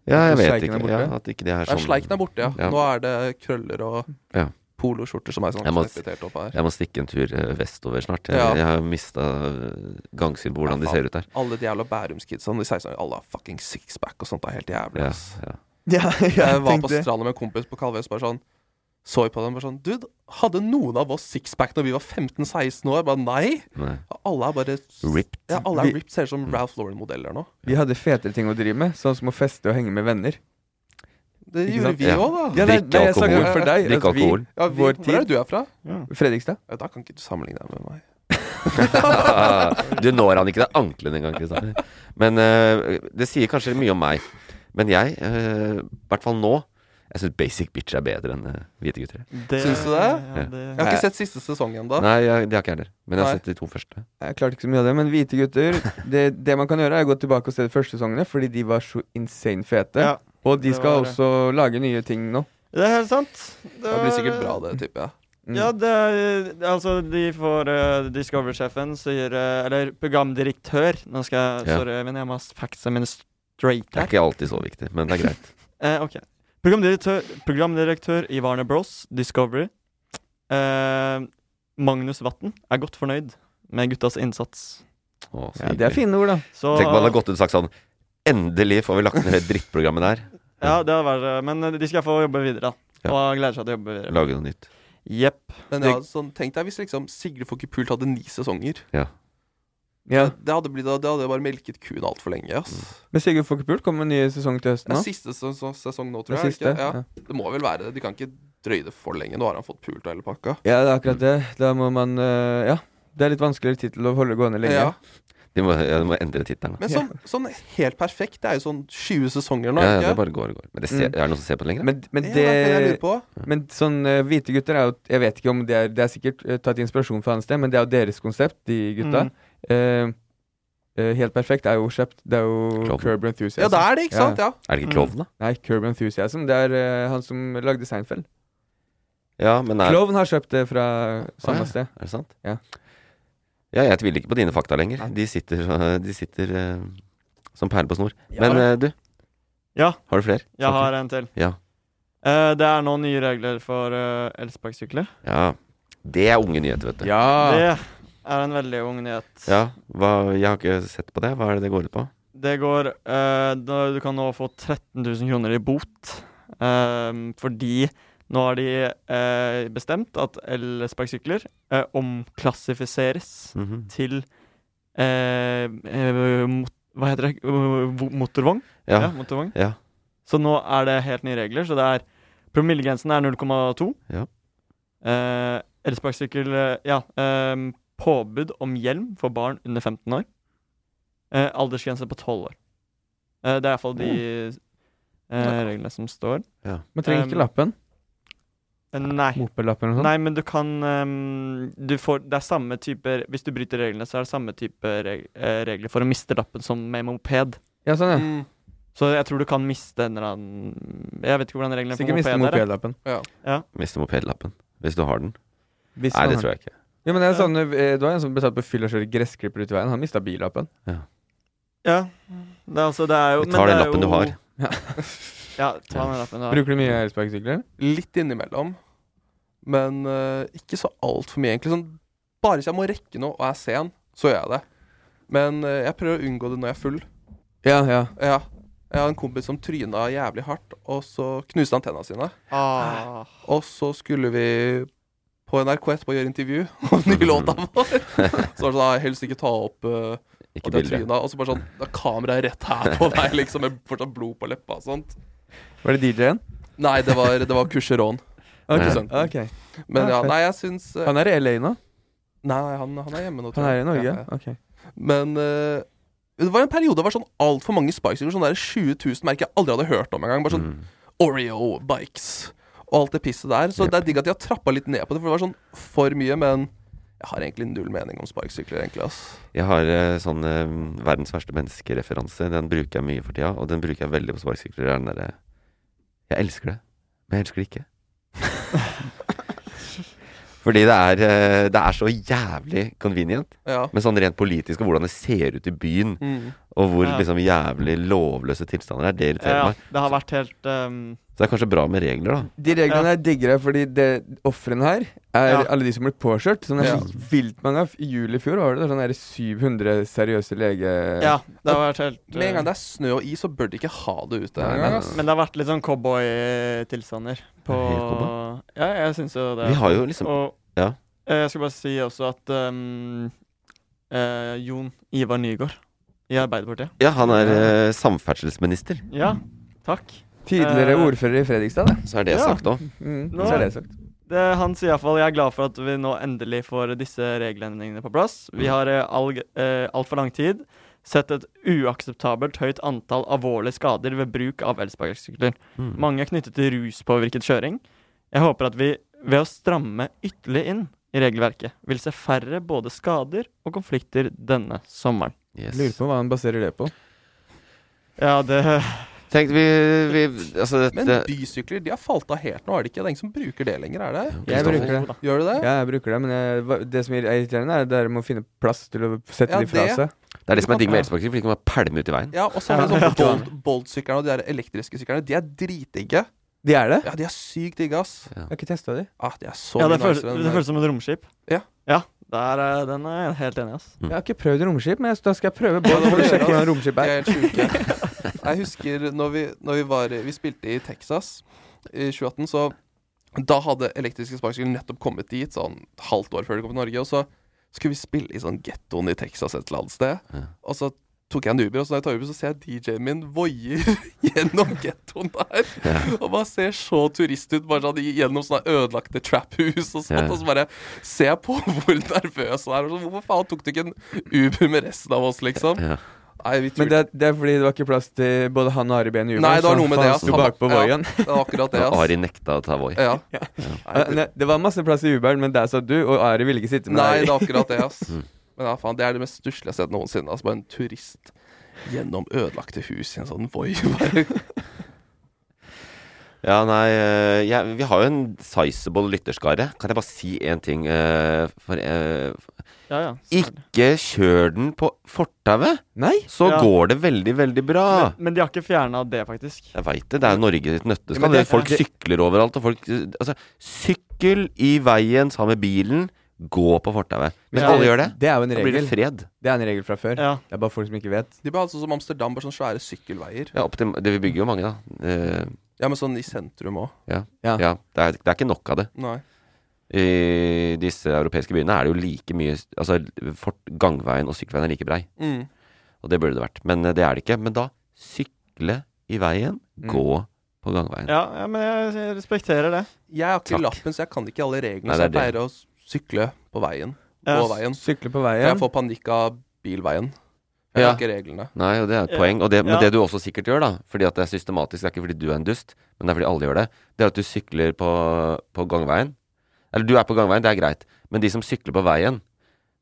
Ja, jeg
At
vet
sleiken er
ikke.
borte?
Ja, at ikke de er
Nei,
sånn
Sleiken er borte, ja.
Ja.
Nå er det krøller og
Ja.
poloskjorter som er sånn
Jeg må,
reflektert opp her.
jeg må stikke en tur eh, vestover snart. Jeg,
Ja.
jeg har mista gangsyn på hvordan de
Ja,
ser
faen.
ut der.
Alle de jævla Bærumskidsa. De 16 år, alle har fucking sixpack og sånt. Det er helt jævlig.
Ja,
ass.
ja.
<laughs> Ja,
Jeg var på
tenkte-
stranda med en kompis på Kalvøs, bare sånn Så på dem bare sånn Dude, hadde noen av oss sixpack når vi var 15-16 år? Jeg Bare nei.
Nei.
Alle er bare
Ripped.
Ja, alle er
Vi-
ripped. Ser ut som Ralph Lauren-modeller nå.
Vi hadde fetere ting å drive med, sånn som å feste og henge med venner.
Det
Ikke
gjorde
sant?
vi
Ja.
òg, da.
Ja, nei,
Drikke
nei, jeg snakker
alkohol.
for deg.
Drikke
altså, vi-
alkohol.
Ja, vi,
Vår
Hvor er
tid.
du er fra?
Fredrikstad.
Ja, da kan ikke du sammenligne deg med meg.
<laughs> du når han ikke. Det er ankelen engang, Kristian. Men eh, det sier kanskje mye om meg. Men jeg, eh, i hvert fall nå, jeg syns basic bitch er bedre enn eh, hvite gutter.
det,
Syns du det?
Ja,
Jeg har ikke sett siste sesong ennå.
Nei, jeg, det har ikke jeg heller. Men jeg
Nei.
har sett de to første.
Jeg klarte ikke så mye av det, men hvite gutter
<laughs>
Det, det man kan gjøre, er å gå tilbake og se de første sesongene, fordi de var så insane fete.
Ja,
og de
det
skal
var det.
også lage nye ting nå.
Det er helt sant.
Det blir sikkert bra, det, tipper jeg.
Mm.
Ja, det er, altså, de får eh, Discovery-sjefen sier eh, Eller programdirektør. Nå skal jeg
Ja.
Sorry, men jeg må ha factsa mine straight
Det er
her.
ikke alltid så viktig, men det er greit.
Eh, ok. Programdirektør, programdirektør i Warner Bros. Discovery. Eh, Magnus Watten er godt fornøyd med guttas innsats.
Å, så
Ja, det er
hyggelig.
fine ord, da.
Så
Tenk om han hadde gått ut og sagt sånn Endelig får vi lagt ned det drittprogrammet der.
Ja, det hadde vært eh, Men de skal få jobbe videre, da.
Ja.
Og gleder seg til å jobbe videre.
Lage noe nytt.
Jepp.
Men ja, sånn, tenk deg hvis liksom Sigrid Fokke Pult hadde ni sesonger.
Ja.
Det hadde, blitt, det hadde bare melket kuen altfor lenge. Ass.
Men Sigurd Fokkepult kommer med en ny sesong til høsten
Det
Mm. nå.
er siste ses- sesong nå,
Den
tror jeg.
siste.
Ikke? Ja.
Ja.
Det må vel være det. De kan ikke drøye det for lenge. Nå har han fått pult og hele pakka.
ja, det er akkurat det. Da må man eh, Ja. Det er litt vanskeligere tittel å holde gående lenge.
Ja.
De må, ja, de må endre tittelen. da.
Men sånn, sånn helt perfekt. Det er jo sånn 20 sesonger nå,
Ja, ja,
er
det
det ikke?
bare går og går. Men det ser,
Mm.
er det noen som ser på det lenger? da?
Men, men
Ja,
det
er jeg lurer på.
Men sånn eh, hvite gutter er jo Jeg vet ikke om det er Det er sikkert eh, tatt inspirasjon fra annet sted, men det er jo deres konsept, de gutta.
Mm.
Eh, eh, helt perfekt er jo kjøpt. Det er jo
Klovn.
Curb Enthusiasm.
Ja, det er det, ikke sant? Ja.
Er det ikke
Mm.
Klovn, da?
Nei, Curb Enthusiasm. Det er eh, han som lagde Seinfeld.
Ja, men er,
Klovn har kjøpt det fra
Å,
samme
ja.
sted.
er det sant?
Ja.
Ja, jeg tviler ikke på dine fakta lenger.
Nei.
De sitter, <laughs> så- de sitter eh, som perler på snor.
Ja.
Men eh, du,
Ja,
har du flere?
jeg har en til.
Ja.
Eh, det er nå nye regler for uh, elsparkesykler.
ja. Det er unge nyheter, vet du.
Ja!
Det er en veldig ung nyhet.
Ah. Ja, hva, jeg har ikke sett på det. Hva er det det går ut på?
Det går eh, da- Du kan nå få 13 000 kroner i bot. eh, fordi nå har de eh, bestemt at elsparkesykler eh, omklassifiseres
Mhm.
til eh, eh, mot, Hva heter det? Eh, vo- Motorvogn?
ja.
Ja, motorvogn.
ja.
Så nå er det helt nye regler. Så det er Promillegrensen er 0,2.
Ja.
Eh, Elsparkesykkel eh, Ja. Eh, påbud om hjelm for barn under 15 år. Eh, aldersgrense på 12 år. Eh, det er iallfall de
Oh.
eh, reglene som står.
Man trenger ikke
Um,
lappen.
Eh, nei.
Mopedlappen og sånn.
Nei, men du kan eh, du får, Det er samme type Hvis du bryter reglene, så er det samme type reg, eh, regler for å miste lappen som med moped.
Ja, sånn, ja.
Mm.
Så jeg tror du kan miste en eller annen Jeg vet ikke hvordan reglene
Sikkert miste
moped er, jeg.
mopedlappen.
Ja. Ja.
Miste mopedlappen. Hvis du har den.
Hvis
Nei,
man
det
har-
tror jeg ikke. <laughs>
Ja, men det, er sånn, eh, det var en som ble tatt på fyll og kjørte gressklipper ut i veien. Han mista billappen.
ja. Det er, altså, det er jo
Vi
men
tar den
det er
lappen
jo,
du har.
Ja. ta den lappen du har.
Bruker du mye elsparkesykler?
Litt innimellom. Men eh, ikke så altfor mye, egentlig. Sånn, bare hvis jeg må rekke noe og er sen, så gjør jeg det. Men eh, jeg prøver å unngå det når jeg er full.
Ja, ja.
Ja. Jeg har en kompis som tryna jævlig hardt, og så knuste han tenna sine.
Ah.
Og så skulle vi på NRK etterpå gjøre intervju om den nye låta vår. Så var det sånn, «Nei, helst ikke ta opp eh,
Ikke
at jeg
bilder.
tryna. Og så bare sånn da Kameraet rett her på deg, liksom, med fortsatt blod på leppa og sånt.
Var det DJ-en?
Nei, det var, det var Kusheron.
Ok,
Kusanten.
ok.
Men
Ja,
ja,
Ah, fett.
nei, jeg syns eh,
Han er i LA nå?
Nei, han, han er hjemme nå.
Han er i Norge?
Ja, ja.
Ok.
Men eh, det var en periode det var sånn altfor mange spikes. Sånn der 20 000 merker jeg aldri hadde hørt om engang. Bare sånn
Mm.
Oreo bikes og alt det pisset der. Så det er digg at de har trappa litt ned på det, for det var sånn for mye. Men jeg har egentlig null mening om sparkesykler, egentlig. Ass.
Jeg har eh, sånn eh, verdens verste menneskereferanse. Den bruker jeg mye for tida, og den bruker jeg veldig på sparkesykler. Det er Den derre Jeg elsker det, men jeg elsker det ikke. <laughs> Fordi det er, eh, det er så jævlig convenient.
Ja.
Men sånn rent politisk og hvordan det ser ut i byen,
Mm.
og hvor
Ja.
liksom jævlig lovløse tilstander er, det irriterer
Ja,
meg.
det har vært helt ehm,
Så det er kanskje bra med regler, da.
De reglene
Ja.
her digger jeg, fordi det- ofrene her er
Ja.
alle de som blir påkjørt. Sånn er
Ja.
så vilt mange av. I juli i fjor var det sånn der 700 seriøse lege...
Ja, det har vært helt ehm,
Med en gang det er snø og is, så bør de ikke ha det ute.
Nei,
engang, ass.
Men det har vært litt sånn cowboy-tilstander på Ja, jeg syns jo det.
Vi har jo liksom-
Og
ja.
eh, jeg skal bare si også at ehm, eh, Jon Ivar Nygaard i Arbeiderpartiet
Ja, han er eh, samferdselsminister.
Ja, takk.
Tidligere
Eh,
ordfører i Fredrikstad, det.
Så er det
Ja.
sagt òg.
Mm, så er det sagt.
Det, han sier iallfall jeg er glad for at vi nå endelig får disse regelendringene på plass. Vi har eh, all, eh, altfor lang tid sett et uakseptabelt høyt antall alvorlige skader ved bruk av elsparkesykler.
Mm.
Mange er knyttet til ruspåvirket kjøring. Jeg håper at vi ved å stramme ytterligere inn i regelverket vil se færre både skader og konflikter denne sommeren.
Lurer på hva han baserer det på.
Ja, det
Tenk, vi, vi Altså,
Men
dette
bysykler de har falt av helt nå, er det ikke? Det er ingen som bruker det lenger, er det?
Jeg bruker det.
Gjør du det?
Ja, jeg bruker det, men jeg, hva- det som er irriterende, er det der med å finne plass til å sette
Ja,
de fra
det-
seg.
Det er det som er digg med elsparkesykler, for de kan bare pælme ut i veien.
Ja, og så er det sånn Bolt- Bolt-syklerne og de der elektriske syklerne, de er dritdigge.
De er det?
Ja, de er sykt digge, ass.
Ja.
Jeg har ikke testa de.
Ah, de er så
ja, det,
mye
føles,
nicer enn
det føles som et romskip.
Ja.
der, eh, den er jeg helt enig i, ass.
Jeg har ikke prøvd romskip, men jeg, da skal jeg prøve. Bård,
Ja, det må
for
du
å sjekke
gjøre,
hvordan
ass.
romskip er.
De er helt sjuke. Jeg husker når vi, når vi var Vi spilte i Texas i 2018, så da hadde elektriske sparkesykler nettopp kommet dit, sånn et halvt år før de kom til Norge. Og så skulle vi spille i sånn gettoen i Texas et eller annet sted. Og så tok jeg en Uber, og så når jeg tar Uber, så ser jeg DJ-en min voier <laughs> gjennom gettoen der. Og bare ser så turist ut, bare sånn gjennom sånne ødelagte trap-hus og sånt.
Ja.
Og så bare ser jeg på <laughs> hvor nervøs han er. Og så, hvorfor faen tok du ikke en Uber med resten av oss, liksom?
Ja.
Nei, vi
Men det, er- det er fordi det var ikke plass til både han og Ari Behn Jubel.
Nei, det var noe med det, ass.
sto bakpå
Han-
<laughs> Voien.
Ja, det var
<laughs>
akkurat det,
Og
ass.
Ari nekta å ta Voi.
Ja.
Ja, Nei, det var masse plass i Uberen, men der satt du, og Ari ville ikke sitte med
Nei, det er
Ari.
akkurat det, ass.
Mm.
Men ja, faen, det er det mest stusslige jeg har sett noensinne. ass. Bare en turist gjennom ødelagte hus i en sånn Voi. bare.
Ja, nei eh, jeg, Vi har jo en sizable lytterskare. Kan jeg bare si én ting? eh, for, eh,
Ja, ja.
ikke kjør den på fortauet!
Nei?
Så
Ja.
går det veldig, veldig bra.
Men, men de har ikke fjerna det, faktisk.
Jeg veit det. Det er Norge sitt
Ja, men
nøtteskall.
det-
folk
ja.
sykler overalt, og folk Altså, sykkel i veien sammen med bilen. Gå på fortauet. Hvis
Ja.
alle gjør det,
Det er jo en
da blir
regel.
det fred.
Det er en regel fra før.
Ja.
Det er bare folk som ikke vet.
<laughs> De bør ha sånn som Amsterdam, bare sånne svære sykkelveier.
Ja, opp til, det, vi bygger jo mange, da. Eh,
Ja, men sånn i sentrum òg.
ja.
Ja.
ja det, er, det er ikke nok av det.
Nei.
I disse europeiske byene er det jo like mye Altså, fort, gangveien og sykkelveien er like brei.
Mm.
Og det burde det vært. Men eh, det er det ikke. Men da sykle i veien, gå på gangveien.
Mm. Ja, ja men jeg, jeg respekterer det.
Jeg har ikke
Takk.
lappen, så jeg kan ikke alle reglene.
Nei,
så jeg
det er det.
pleier å sykle på veien.
Ja,
På veien.
Sykle på
For jeg
veien.
får panikk av bilveien. Jeg
Ja.
har ikke reglene.
Nei, og det er et
Ja.
poeng. Og det, men
Ja.
det du også sikkert gjør, da, fordi at det er systematisk, det er ikke fordi du er en dust, men det er fordi alle gjør det, det er at du sykler på, på gangveien. Eller du er på gangveien, det er greit, men de som sykler på veien,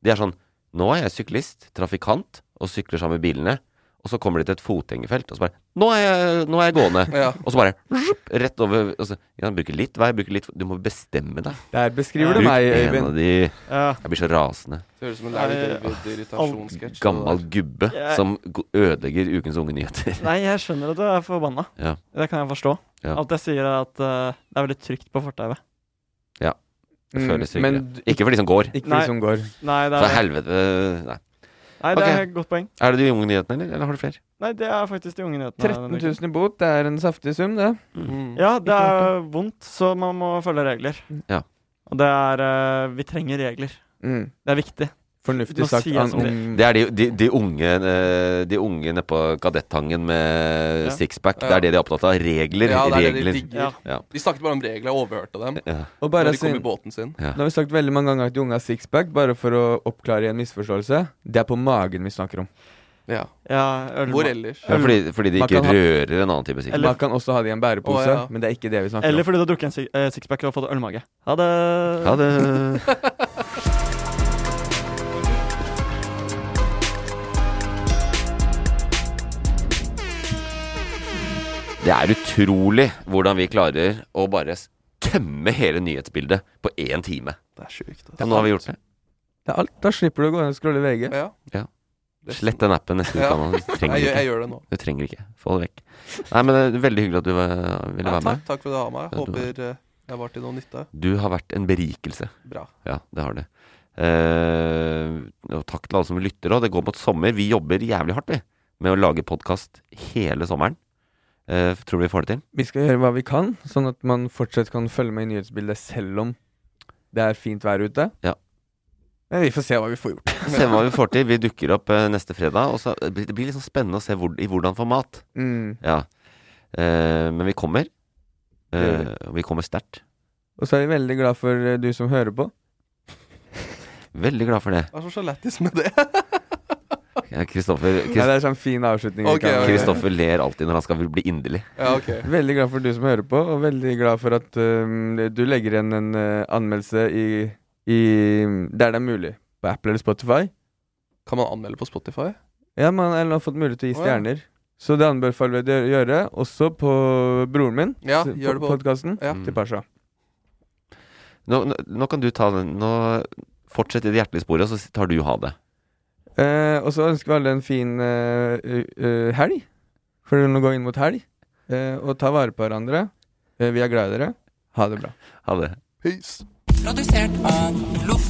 de er sånn Nå er jeg syklist, trafikant, og sykler sammen med bilene. Og så kommer de til et fotgjengerfelt, og så bare 'Nå er jeg, nå er jeg gående!'
Ja.
Og så bare zzup, rett over og så, ja, Bruker litt vei, bruker litt Du må bestemme deg.
Der beskriver du
Bruk
meg,
en
Øyvind.
av de
Ja.
Jeg blir så rasende.
Det høres ut som en Larry David-irritasjonssketsj.
Gammal gubbe
Jeg-
som go- ødelegger ukens unge nyheter. <laughs>
Nei, jeg skjønner at du er forbanna.
Ja.
Det kan jeg forstå.
Ja.
Alt jeg sier, er at eh, det er veldig trygt på fortauet.
Ja. Det
Mm,
føles tryggere.
men du-
Ikke for de som går.
Ikke for de som går.
Nei, det er-
For helvete Nei.
Nei, det
Ok.
er et godt poeng.
Er det de unge nyhetene, eller, eller har du flere?
Nei, det er faktisk de unge nyhetene.
13 000 i bot, det er en saftig sum, det.
Mm.
Mm.
Ja, det er vondt, så man må følge regler.
Ja.
Og det er eh, Vi trenger regler.
Mm.
Det er viktig.
Fornuftig
Nå
sagt,
sier jeg
an-
som det.
om-
Det er de, de, de unge eh, De unge nede på Kadettangen med
Ja.
sixpack. Det
Ja.
er det de er opptatt av. Regler.
Ja, det er det
regler.
de digger.
Ja.
De snakket bare om regler, jeg overhørte dem.
Ja.
Og bare
når de kom
siden-
i båten sin.
Nå har vi sagt veldig mange ganger at de unge har sixpack, bare for å oppklare en misforståelse. Det er på magen vi snakker om.
Ja.
Ja,
Hvor ellers?
Ja, fordi, fordi de
Man
ikke
kan ha-
rører en annen type sikkert.
Man kan også ha det i en bærepose,
Å, ja.
men det er ikke det vi snakker
Eller
om.
fordi du har drukket en si- eh, sixpack og fått ølmage. Ha det.
Ha det. Det er utrolig hvordan vi klarer å bare s- tømme hele nyhetsbildet på én time.
Det er sjukt.
altså.
Ja, nå har vi gjort det.
Det er alt. Da slipper du å gå inn og scrolle VG.
Ja.
Ja. Slett den appen neste uke.
Ja.
Anna. Du trenger
Jeg gjør-
ikke.
jeg gjør det nå.
Du trenger ikke. Få det vekk. Nei, men det er veldig hyggelig at du var, ville
Ja,
være
takk,
med.
takk for at du har meg.
Ja, du-
Håper eh, jeg var til noe nytte.
Du har vært en berikelse.
Bra.
Ja, det har det. Eh, og takk til alle som lytter. Og det går mot sommer. Vi jobber jævlig hardt vi med å lage podkast hele sommeren. Eh, tror du vi får det til?
<laughs> Vi skal gjøre hva vi kan, sånn at man fortsatt kan følge med i nyhetsbildet selv om det er fint vær ute.
Ja.
Men vi får se hva vi får gjort.
Se hva vi får til. Vi dukker opp eh, neste fredag. Og så det blir det blir litt sånn spennende å se hvor, i hvordan format.
Mm.
Ja. Eh, men vi kommer.
gjør
Eh, vi kommer sterkt.
Og så er vi veldig glad for eh, du som hører på.
Veldig glad for det.
Vær så sjalettis med det.
Ja, Kristoffer
Nei, det
Krist-
er sånn fin avslutning. vi
Ok,
kan-
ok.
Kristoffer ler alltid når han skal bli inderlig.
Ja, ok.
Veldig glad for du som hører på, og veldig glad for at eh, du legger igjen en eh, anmeldelse i, i, der det er mulig. På Apple eller Spotify.
Kan man anmelde på Spotify?
Ja, man eller har fått mulighet til å
Å,
gi
ja.
stjerner. Så det anbefaler vi å gjøre, også på broren min.
Ja,
s-
gjør det på-
podcasten
ja.
til Pasha.
Mm. Nå, nå, nå kan du ta den. Nå fortsett i det hjertelige sporet, og så tar du ha det.
Eh, og så ønsker vi alle en fin eh, u- eh, helg. For nå går vi inn mot helg. Eh, og ta vare på hverandre. Eh, vi er glad i dere. Ha det bra.
Ha det.
Peace.
Produsert av Loff.